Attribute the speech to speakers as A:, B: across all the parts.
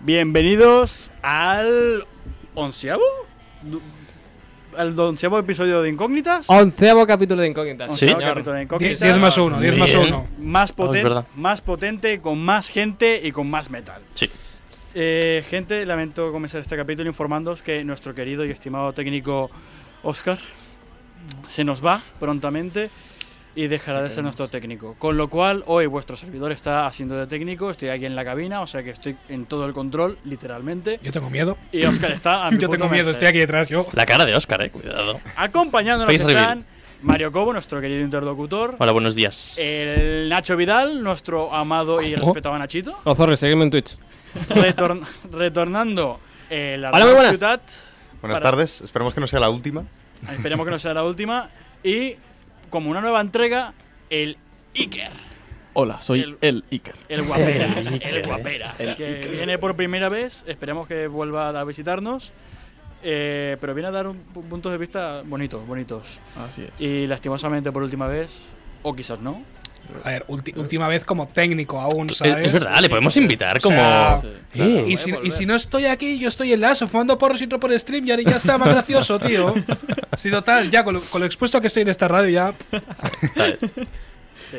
A: Bienvenidos al onceavo, Du- al onceavo episodio de Incógnitas,
B: Onceavo capítulo de Incógnitas.
A: Onceavo
B: señor.
A: capítulo de
C: Die-
A: Incógnitas.
C: 10 más 1, 10 más
D: Bien.
C: 1.
A: más
D: Oh, es
A: potente,
D: verdad.
A: más potente, con más gente y con más metal.
D: Sí.
A: Eh, gente, lamento comenzar este capítulo informándoos que nuestro querido y estimado técnico Oscar se nos va prontamente y dejará de ser nuestro técnico. Con lo cual, hoy vuestro servidor está haciendo de técnico, estoy aquí en la cabina, o sea que estoy en todo el control, literalmente.
C: Yo tengo miedo.
A: Y Oscar está a mi
C: Yo
A: puto
C: tengo miedo,
A: merced.
C: estoy aquí detrás. Yo.
D: La cara de Oscar, eh, cuidado.
A: Acompañándonos
D: Face
A: están
D: reveal.
A: Mario Cobo, nuestro querido interlocutor,
D: Hola, buenos días.
A: el Nacho Vidal, nuestro amado y
B: ¿Cómo?
A: respetado Nachito,
B: Oh, sorry, seguidme en Twitch.
A: retor- retornando eh, la
B: Hola,
A: Radio
B: muy buenas.
A: ciudad.
E: Buenas
A: para-
E: tardes, esperemos que no sea la última.
A: Esperemos que no sea la última. Y como una nueva entrega, el Iker.
F: Hola, soy
A: El-
F: el, Iker.
A: El guaperas,
D: El Iker,
A: el
D: eh.
A: guaperas,
F: El
A: que
F: Iker.
A: viene por primera vez, esperemos que vuelva a visitarnos, eh, pero viene a dar un, pu- puntos de vista bonitos, bonitos.
F: Así es.
A: Y lastimosamente por última vez, o quizás no.
C: A ver, ulti- última vez como técnico aún,
D: Es-
C: ¿sabes?
D: Es verdad, le podemos invitar
C: O
D: como.
C: sea,
F: Sí.
D: Eh,
C: Y, si, y si no estoy aquí, yo estoy en la ASO fumando porros y otro por stream y ahora ya está más gracioso, tío. Sí, total, ya con lo, con lo expuesto que estoy en esta radio ya.
A: Sí.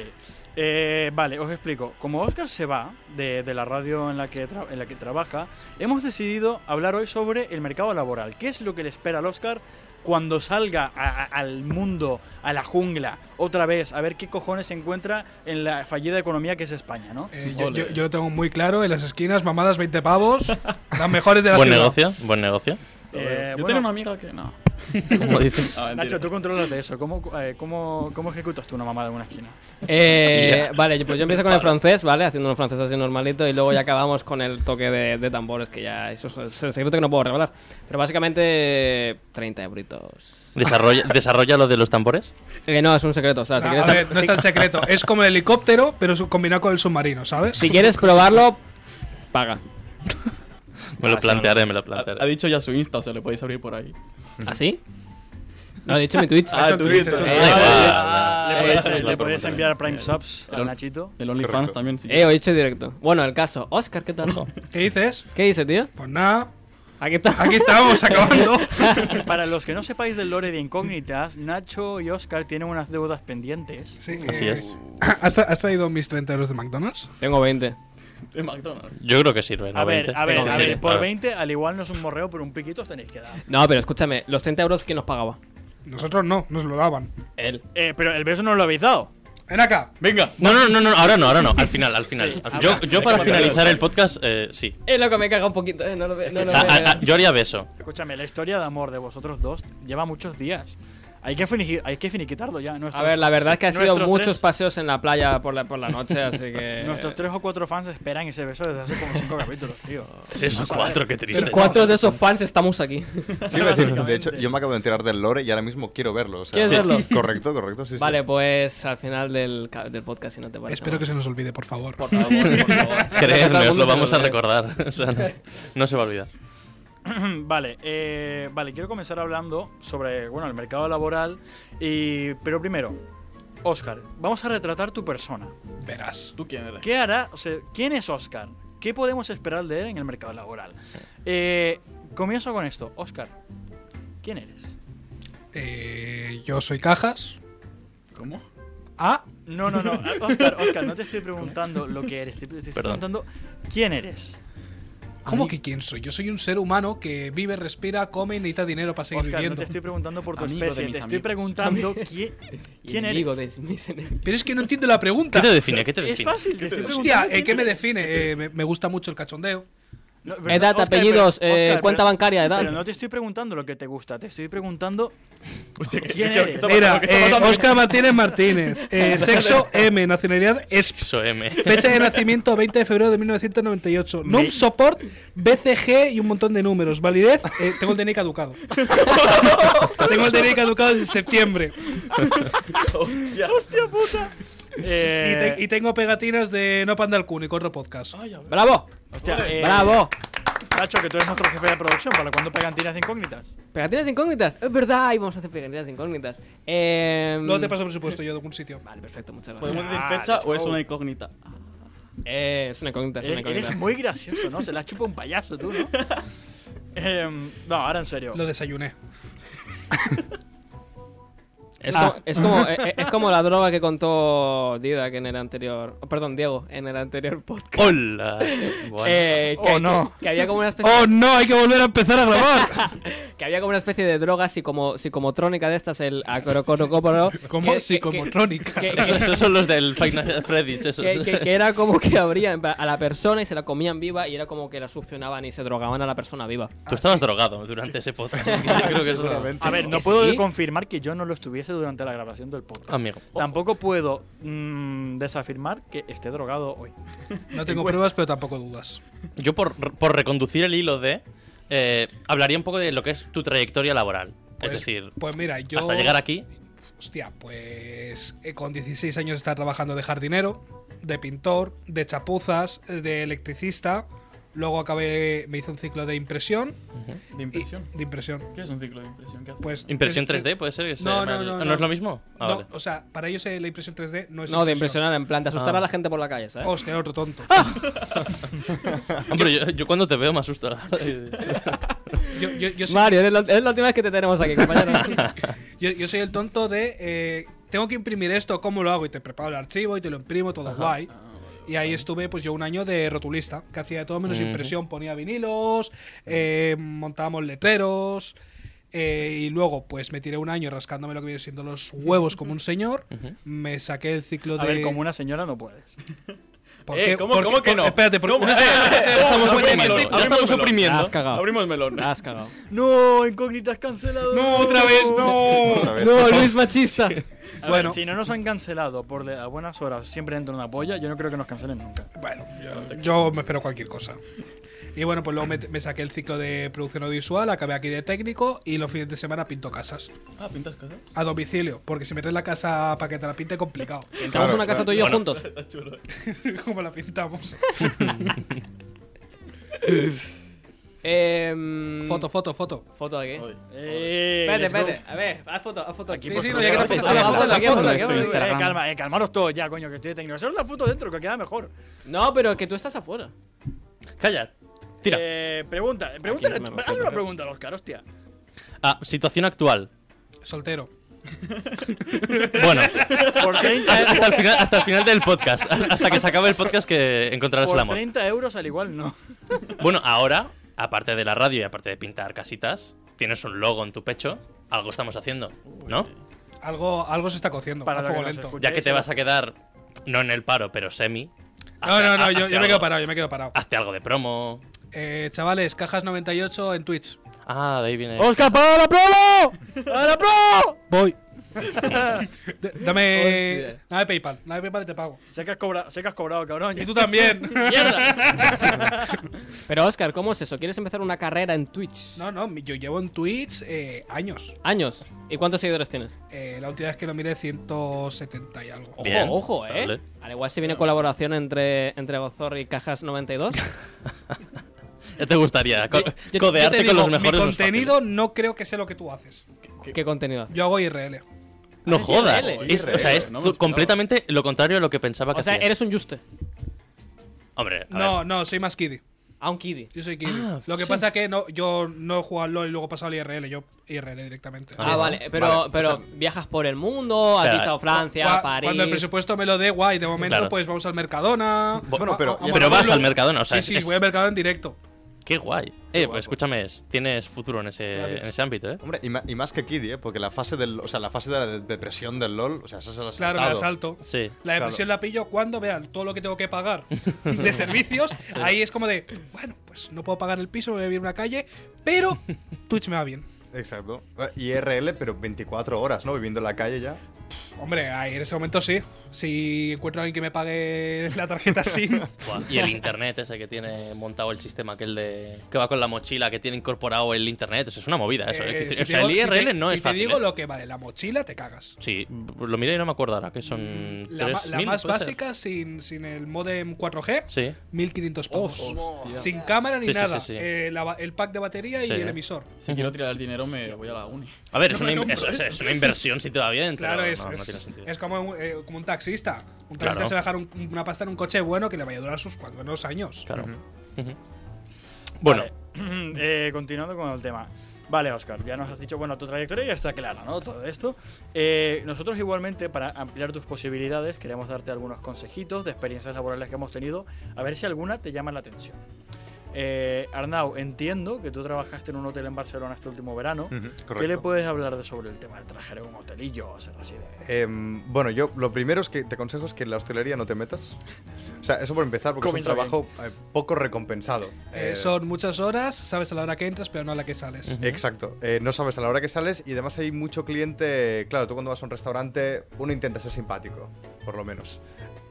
A: Eh, vale, os explico. Como Oscar se va de, de la radio en la, que tra- en la que trabaja, hemos decidido hablar hoy sobre el mercado laboral. ¿Qué es lo que le espera al Oscar cuando salga a- a- al mundo, a la jungla, otra vez, a ver qué cojones se encuentra en la fallida economía que es España, ¿no?
C: Eh, yo,
F: Ole.
C: yo- yo lo tengo muy claro, en las esquinas, mamadas 20 pavos, las mejores de la
D: Buen
C: ciudad.
D: negocio, buen negocio.
A: Eh,
F: Yo
A: bueno,
F: tenía una amiga que no.
D: Como dices.
F: Ah, mentira.
A: Nacho, tú controlas de eso. ¿Cómo, eh, cómo, cómo ejecutas tú una mamada en una esquina?
B: Eh, vale, pues yo empiezo con el francés, ¿vale? Haciendo un francés así normalito y luego ya acabamos con el toque de, de tambores, que ya eso es el secreto que no puedo revelar. Pero básicamente, 30 euritos.
D: Desarrolla, desarrolla lo de los tambores.
B: Que no, es un secreto, o sea, si
C: Ah,
B: quieres,
C: a ver, no es tan secreto. Es como el helicóptero, pero su- combinado con el submarino, ¿sabes?
B: si quieres probarlo, paga.
D: Me lo
B: Ah, sí,
D: plantearé, me lo
F: Ha, ha
D: plantearé.
F: dicho ya su Insta, o sea, le podéis abrir por ahí.
B: ¿Así? No, he dicho mi Twitch.
C: Ah, tú dices, Ah, tú
B: Eh,
C: dices.
A: Ah, Le
B: eh,
A: podías-
B: eh,
A: le podías
D: preguntaré.
A: enviar Prime
F: Bien.
A: Subs a
F: Pero-
A: Nachito.
F: El OnlyFans
E: Correcto.
F: también, sí.
B: Eh, hoy he hecho directo. Bueno, el caso. Oscar, ¿qué tal?
C: ¿Qué dices?
B: ¿Qué dice, tío?
C: Pues nada,
B: Aquí está.
C: aquí estábamos acabando.
A: Para los que no sepáis del lore de incógnitas, Nacho y Oscar tienen unas deudas pendientes.
C: Sí,
D: Así
C: eh,
D: es.
C: ¿Has, tra- has traído mis 30 euros de McDonald's?
B: Tengo 20.
F: De McDonald's.
D: Yo creo que sirve. ¿no?
A: A ver,
D: 20.
A: a ver,
D: Sí,
A: a
D: sí,
A: ver, por 20 al igual no es un morreo, pero un piquito os tenéis que dar.
B: No, pero escúchame, los 30 euros, ¿quién nos pagaba?
C: Nosotros no, nos lo daban.
B: Él.
A: Eh, pero el beso no lo habéis dado.
C: Ven acá.
F: Venga.
D: No, no, no, no, ahora no, ahora no. Al final, al final. Al- yo, yo para
F: Cuando
D: finalizar
F: veas.
D: el podcast, eh, sí.
B: Es lo que me caga un poquito, eh. No lo veo. No
D: O
B: lo
D: sea, a- a-
B: veo.
D: yo haría beso.
A: Escúchame, la historia de amor de vosotros dos lleva muchos días. Hay que, finigi- hay que finiquitarlo ya. Nuestros-
B: A ver, la verdad es que ha sido
A: nuestros
B: muchos
A: tres-
B: paseos en la playa por la, por la noche, así que.
A: Nuestros tres o cuatro fans esperan ese beso desde hace como cinco capítulos, tío.
D: Esos cuatro, qué triste.
B: Cuatro de esos fans estamos aquí.
E: Sí, iba a decir,
A: Básicamente.
E: de hecho, yo me acabo de enterar del lore y ahora mismo quiero verlo. o sea-
B: ¿Quieres
E: Sí.
B: verlo?
E: Correcto, correcto, sí, sí.
B: Vale, pues al final del, ca- del podcast, si no te parece.
C: Espero
B: mal.
C: que se nos olvide, por favor.
F: Por favor, por favor.
D: Creedme, os
B: Todo el mundo
D: lo
B: se
D: vamos a
B: cree.
D: recordar. O sea, no, no se va a olvidar.
A: vale, eh, vale, quiero comenzar hablando sobre bueno, el mercado laboral. Y, pero primero, Oscar, vamos a retratar tu persona.
C: Verás.
F: ¿Tú quién eres?
A: ¿Qué hará? O sea, ¿quién es Oscar? ¿Qué podemos esperar de él en el mercado laboral? Eh, comienzo con esto. Oscar, ¿quién eres?
C: Eh, yo soy Cajas.
F: ¿Cómo?
C: Ah,
A: No, no, no. Oscar, Oscar, no te estoy preguntando lo que eres. Te, te estoy
D: Perdón.
A: preguntando quién eres.
C: ¿cómo que quién soy? Yo soy un ser humano que vive, respira, come y necesita dinero para seguir
A: Oscar, no
C: viviendo.
A: te estoy preguntando por tu
F: Amigo de
A: especie.
F: mis
A: Te estoy
F: amigos.
A: preguntando quién, quién
B: Enemigo
A: eres.
B: de mis enemigos.
C: Pero es que no entiendo la
D: ¿Qué
C: pregunta.
D: te define? ¿Qué te
A: Es
D: define?
A: fácil, te estoy preguntando.
C: Hostia, eh, ¿qué me define? Eh, me, me gusta mucho el cachondeo.
A: No, pero
B: Edad,
A: no, Oscar,
B: apellidos,
A: pero-
B: eh,
A: Oscar,
B: cuenta
A: pero-
B: bancaria, edad.
A: Pero no te estoy preguntando lo que te gusta, te estoy preguntando
F: Hostia, ¿qué-
A: ¿Quién
F: qué-
A: eres?
F: qué está pasando?
C: Mira,
F: ¿Qué está
C: eh,
F: pasando?
C: Oscar Martínez Martínez. eh, sexo M, nacionalidad es.
D: Eso, M.
C: Fecha de nacimiento 20 de febrero de 1998. NUM support, BCG y un montón de números. Validez, eh, tengo el DNI caducado. tengo el DNI caducado desde septiembre.
F: Hostia.
C: Y,
A: Eh,
C: te- y tengo pegatinas de No Panda al Kun y Corro Podcast.
F: Ay, a ver.
B: ¡Bravo!
A: hostia, eh,
B: ¡Bravo!
A: Nacho, que tú eres nuestro jefe de producción, ¿para cuándo pegantinas de incógnitas?
B: Pegatinas incógnitas. Es verdad, ahí vamos a hacer pegatinas incógnitas. Eh,
C: Luego te paso presupuesto yo de algún sitio.
B: Vale, perfecto, muchas gracias.
F: ¿Podemos decir
A: Ah,
F: fecha
A: let's
F: o es
A: go.
F: una incógnita?
B: Eh, es una incógnita, es una
A: Eres, eres
B: incógnita.
A: muy gracioso, ¿no? Se la chupa un payaso tú, ¿no? Em, no, ahora en serio.
C: Lo desayuné.
B: Es,
D: Ah.
B: como, es, como, eh, eh, es como la droga que contó Dida que en el anterior. oh, perdón, Diego, en el anterior podcast.
D: Hola. Guay.
B: Eh, que,
A: Oh, no.
B: que- que había como una especie
C: ¡Oh no! Hay que volver a empezar a grabar.
B: que había como una especie de droga psicomo, psicomotrónica de estas el acorocorocóporo
C: Como psicomotrónica.
B: que,
D: Eso-
B: que-
D: Esos son los del Five Nights at Freddy's. Eso,
B: que- que- que era como que abrían a la persona y se la comían viva y era como que la succionaban y se drogaban a la persona viva
D: Tú estabas drogado durante ese podcast. Yo creo que eso no.
A: A ver, no
B: ¿Que
A: puedo
B: sí?
A: confirmar que yo no lo estuviese durante la grabación del podcast. Oh.
D: Amigo.
A: Tampoco puedo mm, desafirmar que esté drogado hoy.
C: No tengo pruebas, pero tampoco dudas.
D: Yo, por, por reconducir el hilo de. eh, hablaría un poco de lo que es tu trayectoria laboral.
C: Pues-
D: es decir,
C: Pues mira, yo.
D: hasta llegar aquí.
C: Hostia, pues eh, con 16 años estaba trabajando de jardinero, de pintor, de chapuzas, de electricista. Luego acabé, me hice un ciclo de impresión.
F: De
C: y-
F: impresión.
C: de impresión.
F: ¿Qué es un ciclo de impresión? ¿Qué hace?
C: Pues,
D: Impresión
C: tres-
D: 3D, puede ser. que se llame
C: No, no,
D: el-
C: no,
D: ah,
C: no.
D: es lo mismo? Ah,
C: No,
D: vale.
C: o sea, para ellos eh, la impresión 3D no es.
B: no de
C: impresión.
B: impresionar en plan de asustar
D: Ah.
B: a la gente por la calle ¿sabes?
C: Hostia, otro tonto.
D: Hombre, yo, yo cuando te veo me asusta.
C: Yo, yo- yo soy,
B: Mario, eres la, eres la última vez que te tenemos aquí, compañero.
C: yo- yo soy el tonto de. eh, tengo que imprimir esto, ¿cómo lo hago? Y te preparo el archivo y te lo imprimo, todo guay.
D: Ah,
C: Y ahí estuve pues yo un año de rotulista, que hacía de todo menos
D: Ujú.
C: impresión, ponía vinilos, eh, montábamos letreros, eh, y luego pues me tiré un año rascándome lo que viene siendo los huevos como un señor,
D: Ujú.
C: me saqué el ciclo
A: A
C: de...
A: ver, como una señora no puedes.
C: ¿Por
F: Eh,
C: qué?
F: ¿cómo-
C: ¿Por
F: cómo
C: qué?
F: que no?
C: Espérate, porque
F: ¿Cómo?
C: una-
F: Eh, eh, eh,
D: estamos
F: abrimos el
D: oprimiendo,
F: melón,
D: ya
F: abrimos
D: estamos
F: el melón.
D: oprimiendo.
B: La has cagado.
F: Abrimos el melón.
B: La has cagado.
A: No, incógnitas cancelado.
C: No, otra vez, no.
E: Otra vez.
B: No, Luis machista.
A: bueno, si no nos han cancelado por de- a buenas horas siempre dentro de una polla, yo no creo que nos cancelen nunca.
C: Bueno, yo, yo me espero cualquier cosa. Y bueno, pues luego me, me saqué el ciclo de producción audiovisual, acabé aquí de técnico y los fines de semana pinto casas.
F: Ah, pintas casas.
C: A domicilio, porque si me traes la casa para que te la pinte, complicado.
B: Entramos
E: Claro,
B: en una casa
E: claro.
B: tú y yo
D: Bueno.
B: juntos.
C: ¿Cómo la pintamos?
B: Eh,
C: Foto, foto, foto.
B: ¿Foto de qué?
F: Hoy.
A: Eh,
B: Vete,
A: let's go.
B: vete. A ver, haz foto, haz foto.
A: Aquí
C: Sí,
A: por
C: sí, no,
A: favor.
C: ya que la
A: Aquí,
C: foto,
A: aquí,
C: la
A: aquí,
C: foto, la
A: aquí,
C: foto,
A: aquí,
C: la
A: aquí,
C: foto.
A: eh, calma, eh, calmaros todos ya, coño, que estoy de técnico. Solo la foto dentro, que queda mejor.
B: No, pero que tú estás afuera.
D: Calla. Tira.
A: Eh, pregunta, pregúntale,
B: se me
A: hazle
B: bloquea,
A: una
B: creo.
A: pregunta a Oscar, hostia.
D: Ah, situación actual.
C: Soltero.
D: Bueno,
A: Por 30, e-
D: hasta el final, hasta el final del podcast. Hasta que se acabe el podcast que encontrarás el
A: por
D: amor.
A: 30 euros al igual no.
D: Bueno, ahora, aparte de la radio y aparte de pintar casitas, tienes un logo en tu pecho. Algo estamos haciendo, ¿no?
C: Algo, algo se está cociendo.
A: Para
C: a
A: lo
C: fuego
A: que nos
C: lento.
A: escucha.
D: Ya que te vas a quedar, no en el paro, pero semi.
C: No,
D: hazte-
C: no, no,
D: hazte
C: yo, yo
D: algo-
C: me quedo parado, yo me quedo parado.
D: Hazte algo de promo.
C: Eh, chavales, cajas 98 en Twitch.
D: Ah, de ahí viene.
A: ¡Oscar, para la promo! ¡Para la promo!
C: Voy. dame,
B: Hostia.
C: dame PayPal, dame PayPal y te pago.
A: Sé que has, cobra- sé que has cobrado, cabrón.
C: Y tú también.
A: ¡Mierda!
B: Pero Oscar, ¿cómo es eso? ¿Quieres empezar una carrera en Twitch?
C: No, no, yo llevo en Twitch eh, años.
B: Años. ¿Y cuántos seguidores tienes?
C: Eh, la última vez que lo miré 170 y algo.
B: Ojo,
D: Bien,
B: ojo,
D: estable.
B: eh. Al igual si viene colaboración entre, entre Gozor y Cajas 92.
D: Ya te gustaría co-
B: Yo- yo-
D: codearte
C: Yo te
D: con los
C: digo,
D: mejores.
C: Mi
D: no es fácil.
C: contenido no creo que sea lo que tú haces.
B: ¿Qué contenido hace?
C: Yo hago IRL.
D: No
B: Haces
D: jodas.
B: IRL.
D: Es- o sea, es
F: No me
D: tú-
F: esperaba.
D: completamente lo contrario a lo que pensaba que
B: O sea,
D: hacías.
B: eres un Juste.
D: Hombre, a
C: No,
D: ver.
C: no, soy más kiddie.
B: A un Kiddy.
C: Yo soy kiddie.
D: Ah,
C: lo que pasa que no, yo no he jugado al LoL y luego he pasado al IRL. Yo IRL directamente.
B: Ah,
D: Ah,
B: vale. Pero,
E: vale, o
B: pero viajas por el mundo, has
D: Claro.
B: visitado Francia,
C: Cua-
B: París.
C: Cuando el presupuesto me lo dé, guay. De momento,
D: Claro.
C: pues vamos al Mercadona.
E: Bueno,
C: va-
E: pero-
C: vamos
E: pero
C: al
D: vas
C: pueblo.
D: al Mercadona, o sea,
C: Sí, sí,
D: es-
C: voy al Mercadona en directo.
D: Qué guay. eh, pues escúchame, es- tienes futuro en ese, en ese ámbito, ¿eh?
E: Hombre, y, ma- y más que Kiddy, ¿eh? porque la fase del, o sea, la fase de la de- depresión del LOL, o sea, esa es la
C: Claro, me la salto.
D: Sí.
C: La depresión la pillo cuando vea todo lo que tengo que pagar de servicios. Ahí es como de, bueno, pues no puedo pagar el piso, voy a vivir en una calle, pero Twitch me va bien.
E: Exacto. Eh, IRL, pero 24 horas, ¿no? Viviendo en la calle ya.
C: Hombre, ahí en ese momento sí. Si encuentro a alguien que me pague la tarjeta SIM,
D: Buah, Y el internet ese que tiene montado el sistema aquel de que va con la mochila que tiene incorporado el internet, eso es una movida eso.
C: eh,
D: es decir,
C: si
D: o sea,
C: te
D: el
C: digo- si
D: IRL
C: te-
D: no
C: si
D: es fácil.
C: te digo
D: ¿eh?
C: lo que vale la mochila, te cagas.
D: Sí, lo miré y no me acuerdo ahora que son
C: La, ma-
D: 3.000,
C: la más
D: Mm, ¿puede ser?
C: básica, sin, sin el modem 4G,
D: Sí.
C: 1500 pavos.
A: Hostia.
C: sin cámara ni
D: Sí, sí,
C: nada.
D: sí, sí.
C: Eh, la ba- el pack de batería y
D: Sí.
C: el emisor.
F: Si quiero tirar el dinero, me voy a la uni.
D: A ver,
C: No
D: es, una,
C: me
D: in-
C: compro
D: es- es-
C: eso.
D: es una inversión si te va bien,
C: Claro,
D: pero
C: es,
D: no, no
C: es-
D: tiene sentido.
C: es como, un, eh, como un taxista. Un taxista
D: Claro.
C: se va a dejar un- una pasta en un coche bueno que le vaya a durar sus cuatro menos años.
D: Claro. Ujú. Bueno,
A: Eh, continuando con el tema. Vale, Oscar, ya nos has dicho, bueno, tu trayectoria ya está clara, ¿no? Todo esto. Eh, nosotros igualmente, para ampliar tus posibilidades, queremos darte algunos consejitos de experiencias laborales que hemos tenido, a ver si alguna te llama la atención. Eh, Arnau, entiendo que tú trabajaste en un hotel en Barcelona este último verano.
E: Ujú,
A: ¿Qué le
E: Mm, correcto.
A: puedes hablar de sobre el tema de trabajar en un hotelillo o ser así de...
E: Em, bueno, yo lo primero es que te aconsejo es que en la hostelería no te metas. O sea, eso por empezar, porque
A: Comienza
E: es un trabajo eh, poco recompensado.
C: Eh,
E: Eh,
C: son muchas horas, sabes a la hora que entras, pero no a la que sales.
E: Exacto, Eh, no sabes a la hora que sales y además hay mucho cliente, claro, tú cuando vas a un restaurante uno intenta ser simpático, por lo menos,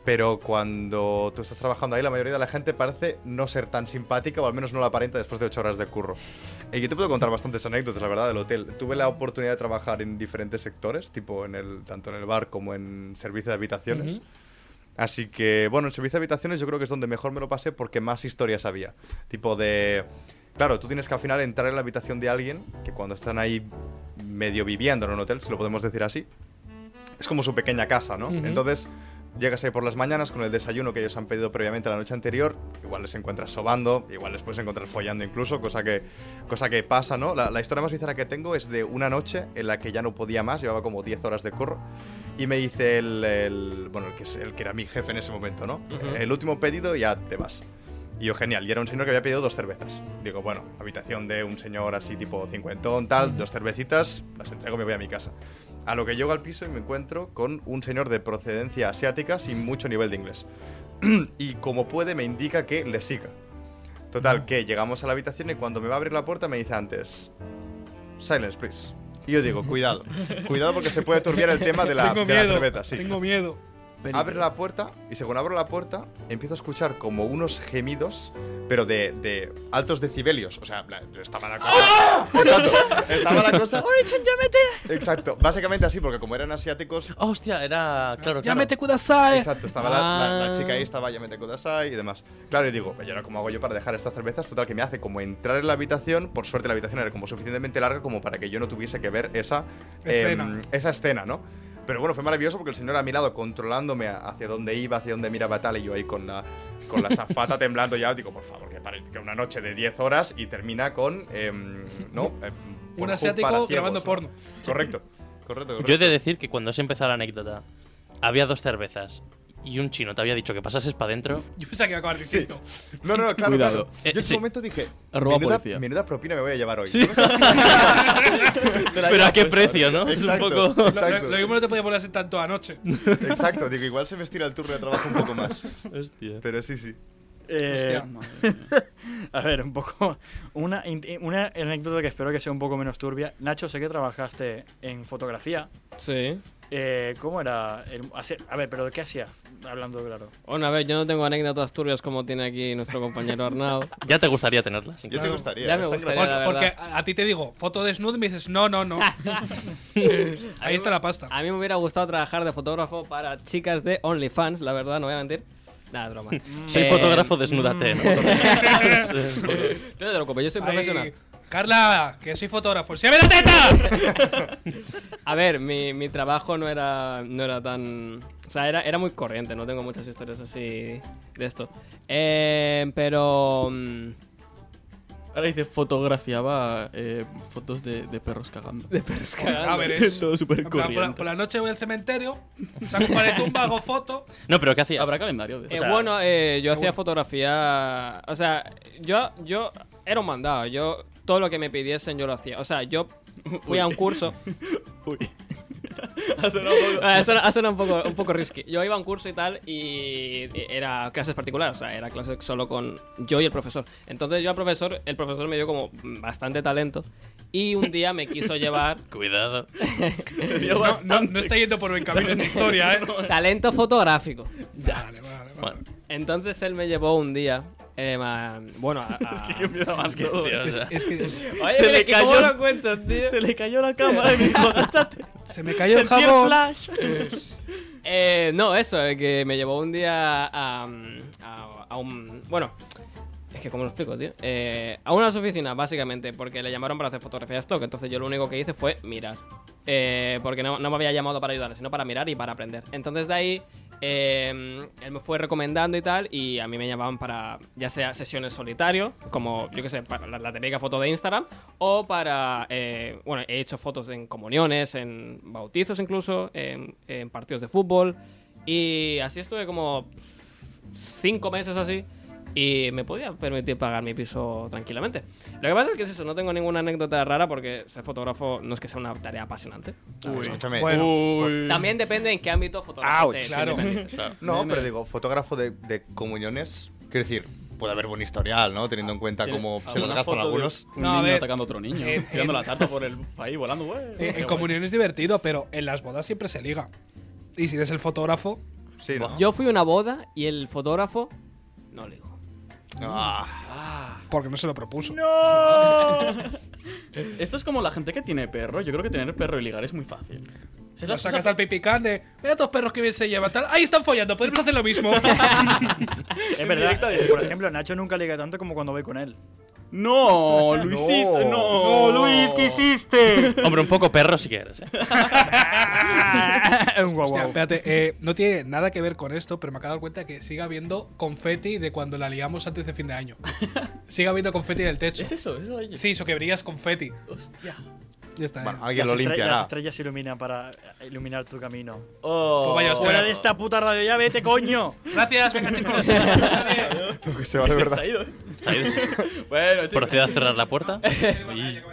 E: pero cuando tú estás trabajando ahí la mayoría de la gente parece no ser tan simpática o al menos no la aparenta después de ocho horas de curro. Y yo te puedo contar bastantes anécdotas, la verdad, del hotel. Tuve la oportunidad de trabajar en diferentes sectores, tipo en el, tanto en el bar como en servicio de habitaciones. Así que, bueno, el servicio de habitaciones yo creo que es donde mejor me lo pasé porque más historias había. Tipo de... Claro, tú tienes que al final entrar en la habitación de alguien que cuando están ahí medio viviendo en un hotel, si lo podemos decir así, es como su pequeña casa, ¿no?
C: Ujú.
E: Entonces, llegas ahí por las mañanas con el desayuno que ellos han pedido previamente la noche anterior, igual les encuentras sobando, igual les puedes encontrar follando incluso, cosa que, cosa que pasa, ¿no? La, la historia más bizarra que tengo es de una noche en la que ya no podía más, llevaba como 10 horas de curro, y me dice el, el- bueno, el que, es- el que era mi jefe en ese momento, ¿no? El último pedido ya te vas. Y yo, genial, y era un señor que había pedido dos cervezas. Digo, bueno, habitación de un señor así tipo cincuentón, tal, dos cervecitas, las entrego y me voy a mi casa. A lo que llego al piso y me encuentro con un señor de procedencia asiática sin mucho nivel de inglés. y como puede me indica que le siga.
C: Mm.
E: Total, que llegamos a la habitación y cuando me va a abrir la puerta me dice antes, silence, please. Y yo digo, cuidado, cuidado porque se puede turbiar el tema de la,
C: tengo
E: de la
C: miedo,
E: cerveza. sí.
C: tengo miedo.
E: Abre la puerta y según abro la puerta empiezo a escuchar como unos gemidos, pero de, de altos decibelios. O sea, en plan, estaba la cosa. Exacto, estaba la cosa. Exacto, básicamente así, porque como eran asiáticos.
D: Ah, hostia, era claro, claro.
C: Llámete Kudasai.
E: Exacto, estaba la, la- la
B: Ah.
E: chica ahí, estaba Yamete Kudasai y demás. Claro, y digo, ¿y ahora cómo hago yo para dejar estas cervezas? Total, que me hace como entrar en la habitación. Por suerte, la habitación era como suficientemente larga como para que yo no tuviese que ver esa
C: Escena.
E: eh, esa escena, ¿no? Pero bueno, fue maravilloso porque el señor a mi lado controlándome a- hacia dónde iba, hacia dónde miraba tal, y yo ahí con la con la zafata temblando ya, digo, por favor, que, pare- que una noche de 10 horas y termina con, em, ¿no? Em,
C: Un
E: Pornhub
C: asiático
E: para ciegos,
C: grabando
E: ¿no?
C: porno.
E: Correcto, correcto, correcto.
D: Yo he de decir que cuando has empezado la anécdota, había dos cervezas y un chino te había dicho que pasases para adentro.
C: Yo pensaba que iba a acabar distinto.
E: No, no, no, claro,
F: Cuidado.
E: claro.
D: Eh,
E: Yo en ese
D: sí.
E: momento dije,
F: Arroba
E: menuda,
F: policía.
E: menuda propina me voy a llevar hoy.
D: Pero a qué precio, ¿no? Es un
E: Exacto,
D: poco.
C: Lo, lo-
E: exacto,
C: lo mismo no te podía poner así tanto anoche.
E: exacto. Digo, igual se me estira el turno de trabajo un poco más.
D: Hostia.
E: Pero sí, sí.
A: Eh,
C: Hostia.
A: a ver, un poco. Una, in- una anécdota que espero que sea un poco menos turbia. Nacho, sé que trabajaste en fotografía.
B: Sí.
A: Eh, ¿Cómo era? el- hace- a ver, pero ¿qué hacías? Hablando claro.
B: Bueno, a ver, yo no tengo anécdotas turbias como tiene aquí nuestro compañero Arnau.
D: Ya te gustaría tenerlas.
E: Yo te gustaría.
B: ya me
E: está
B: gustaría.
E: grabado.
B: la
C: porque
B: verdad.
C: a, a ti te digo, foto desnudo y me dices, no, no, no. Ahí está la pasta.
B: A mí me hubiera gustado trabajar de fotógrafo para chicas de OnlyFans, la verdad, no voy a mentir. Nada, es broma.
D: Soy
B: Eh,
D: fotógrafo, desnúdate. ¿no?
B: Eh, No te preocupes, yo soy
C: Ahí-
B: profesional.
C: Carla, que soy fotógrafo. ¡Se ve la teta!
B: A ver, mi, mi trabajo no era, no era tan... O sea, era, era muy corriente, no tengo muchas historias así de esto. Eh, pero... mm,
F: Ahora dice, fotografiaba eh, fotos de, de perros cagando.
B: De perros cagando.
C: A ver, es.
F: Todo súper
C: En plan, por, la, por
F: corriente.
C: la noche voy al cementerio, saco un par de tumba, hago foto.
D: No, pero ¿qué hacías?
F: Habrá calendario de
B: Eh,
F: eso.
D: sea,
B: bueno, eh, yo hacía
C: seguro.
B: fotografía... O sea, yo, yo era un mandado. Yo, todo lo que me pidiesen, yo lo hacía. O sea, yo fui
F: Uy.
B: a un curso.
F: Uy. Ha sonado un poco-
B: Ah, eso, era- eso era un poco, un poco risky. Yo iba a un curso y tal y era clases particulares, o sea, era clases solo con yo y el profesor. Entonces yo al profesor, el profesor me dio como bastante talento y un día me quiso llevar
D: Cuidado.
F: Te
C: No,
F: dio
C: no-
F: bastante.
C: no está yendo por buen camino esta historia, ¿eh?
B: talento fotográfico.
C: Vale, vale, vale.
D: Bueno,
B: Entonces él me llevó un día, em, a- bueno, a- a-
F: Es que empieza mal
D: es que,
F: todo.
D: tío, o sea,
C: Es que
B: Oye,
F: Se
B: pero
F: le
B: es que ¿cómo
F: cayó-
B: lo cuentas, tío?
F: Se le cayó la cámara y me dijo, "Agáchate".
C: se me cayó el
F: Sentí
C: jabón.
F: flash.
B: Eh, no, eso, eh, que me llevó un día a, a- a un... Bueno, es que cómo lo explico, tío. Eh, a unas oficinas, básicamente, porque le llamaron para hacer fotografía de stock. Entonces yo lo único que hice fue mirar. Eh, porque no, no me había llamado para ayudar, sino para mirar y para aprender. Entonces de ahí, eh, él me fue recomendando y tal, y a mí me llamaban para, ya sea sesiones solitario, como, yo qué sé, para la, la típica foto de Instagram, o para, eh, bueno, he hecho fotos en comuniones, en bautizos incluso, en, en partidos de fútbol, y así estuve como cinco meses o así y me podía permitir pagar mi piso tranquilamente. Lo que pasa es que es eso, no tengo ninguna anécdota rara porque ser fotógrafo no es que sea una tarea apasionante.
E: Escúchame.
C: Bueno.
F: Uy.
B: También depende en qué ámbito fotógrafo
E: Ouch.
B: te- te
C: Claro.
B: metes.
E: No, pero digo, fotógrafo de, de comuniones, quiero decir, puede haber buen historial, ¿no? Teniendo en cuenta cómo Ah, se los
F: Alguna
E: gastan
F: foto de
E: algunos.
F: Un
C: No, a
F: niño
C: ver.
F: atacando a otro niño.
C: Eh,
F: tirando
C: eh.
F: la tarta por el país volando, güey.
C: Eh,
F: Qué
C: en
F: guay.
C: comunión es divertido, pero en las bodas siempre se liga. Y si eres el fotógrafo,
E: Sí, ¿no?
B: Yo fui a una boda y el fotógrafo no le dijo.
E: Ah,
C: porque no se lo propuso.
F: Esto es como la gente que tiene perro. Yo creo que tener perro y ligar es muy fácil. Si es
C: Lo
F: la
C: sacas
F: cosa-
C: al pipicán de, mira todos perros que bien se llevan, tal. Ahí están follando, podemos hacer lo mismo.
A: Es verdad.
F: directo, directo.
A: Por ejemplo, Nacho nunca liga tanto como cuando voy con él.
F: No, Luisito, no.
E: No.
F: hiciste?
D: hombre, un poco perro si quieres. ¿eh? Ah.
A: un guau
C: Hostia,
A: guau.
C: espérate, eh, no tiene nada que ver con esto, pero me acabo de dar cuenta que sigue habiendo confeti de cuando la liamos antes de fin de año. sigue habiendo confeti en el techo.
F: ¿Es eso? ¿Eso oye?
C: Sí, eso que brillas confeti.
F: Hostia.
C: Ya está.
E: bueno,
C: eh.
E: alguien
A: Las
E: lo
A: estre- Las
E: limpiará.
A: estrellas iluminan para eh, iluminar tu camino.
F: Oh.
C: Pues vaya hostia.
A: Fuera de esta puta radio, ya vete, coño.
C: Gracias, venga chicos.
E: Lo que se va de
F: Se-
E: verdad.
F: se ha ido. ¿eh?
D: Se ha ido.
F: Bueno, chicos.
D: Proceda a cerrar la puerta. Y-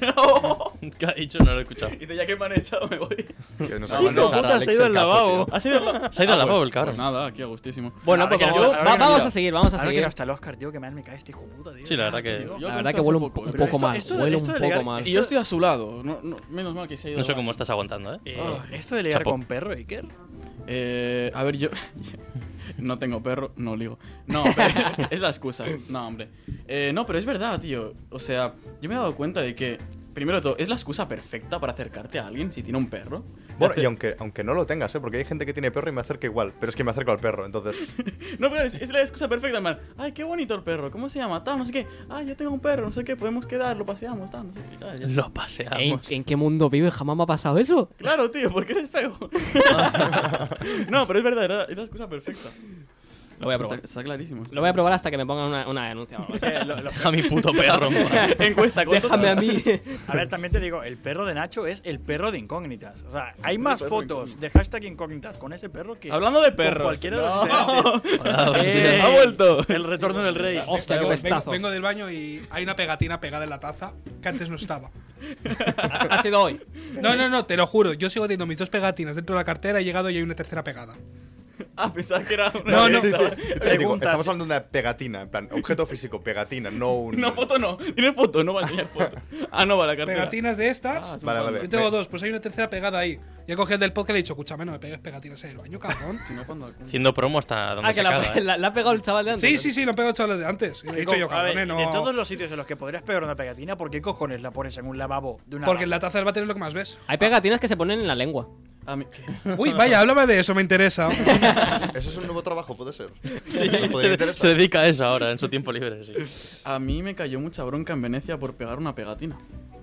F: No.
D: ¿Qué ha dicho? No lo he escuchado.
F: Dice, ya que me han echado, me voy.
E: Que nos
F: No,
E: acaban de
F: hijo
E: echar
A: puta,
E: a Alex
A: se ha ido
E: el
A: al
E: capo,
A: lavabo.
E: tío.
F: Ha sido la...
D: Se ha ido al lavabo
F: pues,
D: el cabrón.
F: pues nada, aquí a gustísimo.
B: Bueno,
A: Ahora
B: pues
A: que-
B: vamos,
A: ahora que
B: va-
A: no
B: vamos
A: olvido.
B: a seguir, vamos a
A: Ahora que
B: seguir.
A: no está el Oscar, tío, que mal me cae este hijo puta, tío.
D: Sí, la verdad que.
F: Yo
B: La
F: creo
B: verdad que
F: hace
B: huele un,
F: poco,
B: un
F: ¿eh?
B: poco
A: esto-
B: mal,
A: esto de-
B: huele un
A: esto de
B: poco
A: legal-
B: mal.
F: Y yo estoy a su lado. No, no, menos mal que se ha ido.
D: Ah, No sé cómo estás aguantando, ¿eh?
A: Eh,
F: Ay.
A: esto de ligar
D: Chapo.
A: con perro, Iker.
F: Eh, a ver, yo no tengo perro, no ligo. No, pero es la excusa. No, hombre. Eh, no, pero es verdad, tío. O sea, yo me he dado cuenta de que, primero de todo, es la excusa perfecta para acercarte a alguien si tiene un perro. Te
E: Bueno,
F: hace-
E: y aunque, aunque no lo tengas, ¿eh? porque hay gente que tiene perro y me acerca igual, pero es que me acerco al perro, entonces.
F: No, pero es, es la excusa perfecta, man. Ay, qué bonito el perro. ¿Cómo se llama? Tal, no sé qué. Ah, yo tengo un perro, no sé qué. Podemos quedar, lo paseamos, tal, no sé qué. ¿sabes?
D: Lo
B: ¿En,
D: paseamos.
B: ¿En qué mundo vive? Jamás me ha pasado eso.
F: Claro, tío, porque eres feo. no, pero es verdad, era- es la excusa perfecta.
B: Lo voy a
F: Está,
B: probar.
F: está clarísimo. está
B: Lo voy a probar hasta que me pongan una, una denuncia. o algo así.
A: Eh, lo- lo-
D: Deja a mi puto perro. en paz.
F: Encuesta, ¿cuántos-
B: Déjame a mí.
A: a ver, también te digo, el perro de Nacho es el perro de incógnitas. O sea, hay más fotos de hashtag incógnitas con ese perro que.
F: Hablando de
A: con
F: perros.
A: cualquiera de
F: no.
A: los integrantes.
D: Hola, buenos
A: Eh,
D: días.
F: Ha vuelto.
A: El retorno del rey.
B: Hostia, qué
C: Vengo- vengo,
B: pestazo.
C: vengo del baño y hay una pegatina pegada en la taza que antes no estaba.
B: Ha ha sido hoy.
C: No, no, no, te lo juro. Yo sigo teniendo mis dos pegatinas dentro de la cartera, he llegado y hay una tercera pegada.
F: Ah, pensaba que era una
C: No, no.
E: Sí, sí.
F: fiesta.
E: Te digo,
A: Pregunta.
E: estamos hablando de una pegatina, en plan, objeto físico, pegatina, no un.
F: No, foto no. Tiene foto, no va a enseñar foto. Ah, no, va la cartera.
C: Pegatinas de estas.
F: Ah, es un
E: Vale,
F: pan.
E: vale.
C: Yo tengo
E: Ve-
C: dos, pues hay una tercera pegada ahí. Yo cogí el del podcast y le he dicho, escúchame, no me pegues pegatinas en el baño, cabrón.
F: Si no, cuando-
D: Haciendo promo hasta donde
B: Ah,
D: se
B: que
D: caga.
B: la,
D: ¿eh?
B: la- la ha pegado el chaval de antes.
C: Sí, sí, sí, lo han pegado chavales de antes. Y le he dicho yo,
A: A ver,
C: cabrones, no.
A: De todos los sitios en los que podrías pegar una pegatina, ¿por qué cojones la pones en un lavabo de una
C: Porque en
A: barra?
C: la taza del váter es lo que más ves.
B: Hay pegatinas que se ponen en la lengua.
F: Ah, mi-
C: Uy, vaya, háblame de eso, me interesa.
E: Eso es un nuevo trabajo, puede ser.
D: Sí,
E: Podría
D: se,
E: interesar.
D: se dedica a eso ahora, en su tiempo libre. Sí.
F: A mí me cayó mucha bronca en Venecia por pegar una pegatina.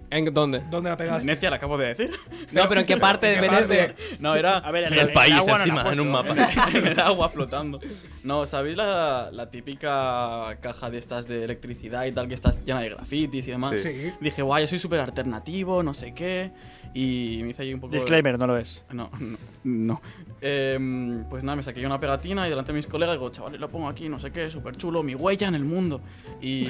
B: ¿En dónde?
C: ¿Dónde la pegaste?
F: Venecia, la acabo de decir.
B: No, pero ¿en qué parte de
C: ¿en qué parte?
B: Venecia?
F: No, era.
A: A ver,
D: En
A: el,
D: el país,
A: agua no la
D: encima,
A: han
D: en un
A: puesto,
D: mapa.
A: ¿eh?
F: en el agua flotando. No, ¿sabéis la, la típica caja de estas de electricidad y tal que está llena de grafitis y demás?
E: Sí.
C: Sí.
F: Dije, guay, yo soy súper alternativo, no sé qué. Y me hice ahí un poco...
A: Disclaimer, no lo es.
F: No, no. no. Em, pues nada, me saqué yo una pegatina y delante de mis colegas digo, chavales, lo pongo aquí, no sé qué, súper chulo, mi huella en el mundo. Y,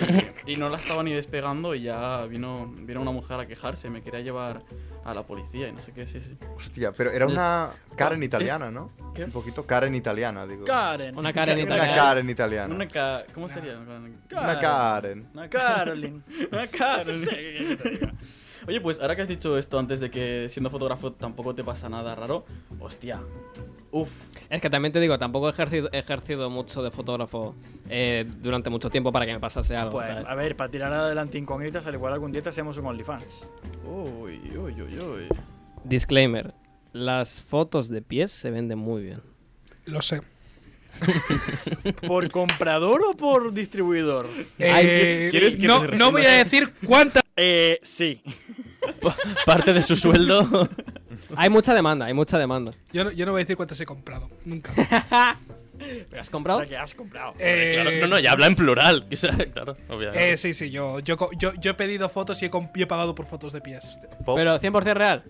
F: y no la estaba ni despegando y ya vino, vino una mujer a quejarse, me quería llevar a la policía y no sé qué, sí, sí.
E: Hostia, pero era una Karen italiana, ¿no?
F: ¿Qué?
E: Un poquito Karen italiana, digo.
A: Karen.
B: Una Karen
E: Una
B: italiana.
E: Karen italiana.
F: Una ca- ¿Cómo sería?
E: Una Karen.
F: Una ca-
A: Carolyn.
F: Una cara.
A: No sé qué te diga.
F: Oye, pues ahora que has dicho esto antes de que siendo fotógrafo tampoco te pasa nada raro, hostia. Uf,
B: Es que también te digo, tampoco he ejercido, he ejercido mucho de fotógrafo eh, durante mucho tiempo para que me pasase algo.
A: Pues,
C: ah.
B: ¿sabes?
A: a ver, para tirar adelante incógnitas, al igual algún día te hacemos un OnlyFans.
F: uy, uy, uy, uy.
B: Disclaimer. Las fotos de pies se venden muy bien.
C: Lo sé.
A: ¿Por comprador o por distribuidor?
B: Ay,
C: Eh,
F: ¿quieres que
C: no,
F: te
C: no voy a decir cuántas.
A: Eh, sí.
D: Parte de su sueldo.
B: Hay mucha demanda, hay mucha demanda.
C: Yo no, yo no voy a decir cuántas he comprado. Nunca.
B: ¿Pero has
A: O
B: comprado?
A: sea, que has comprado.
C: Eh,
D: Claro, no, no, ya habla en plural. o sea, claro, obviamente.
C: eh, sí, sí, yo, yo, co- yo, yo he pedido fotos y he, comp- y he pagado por fotos de pies.
E: Pop,
B: Pero 100% real.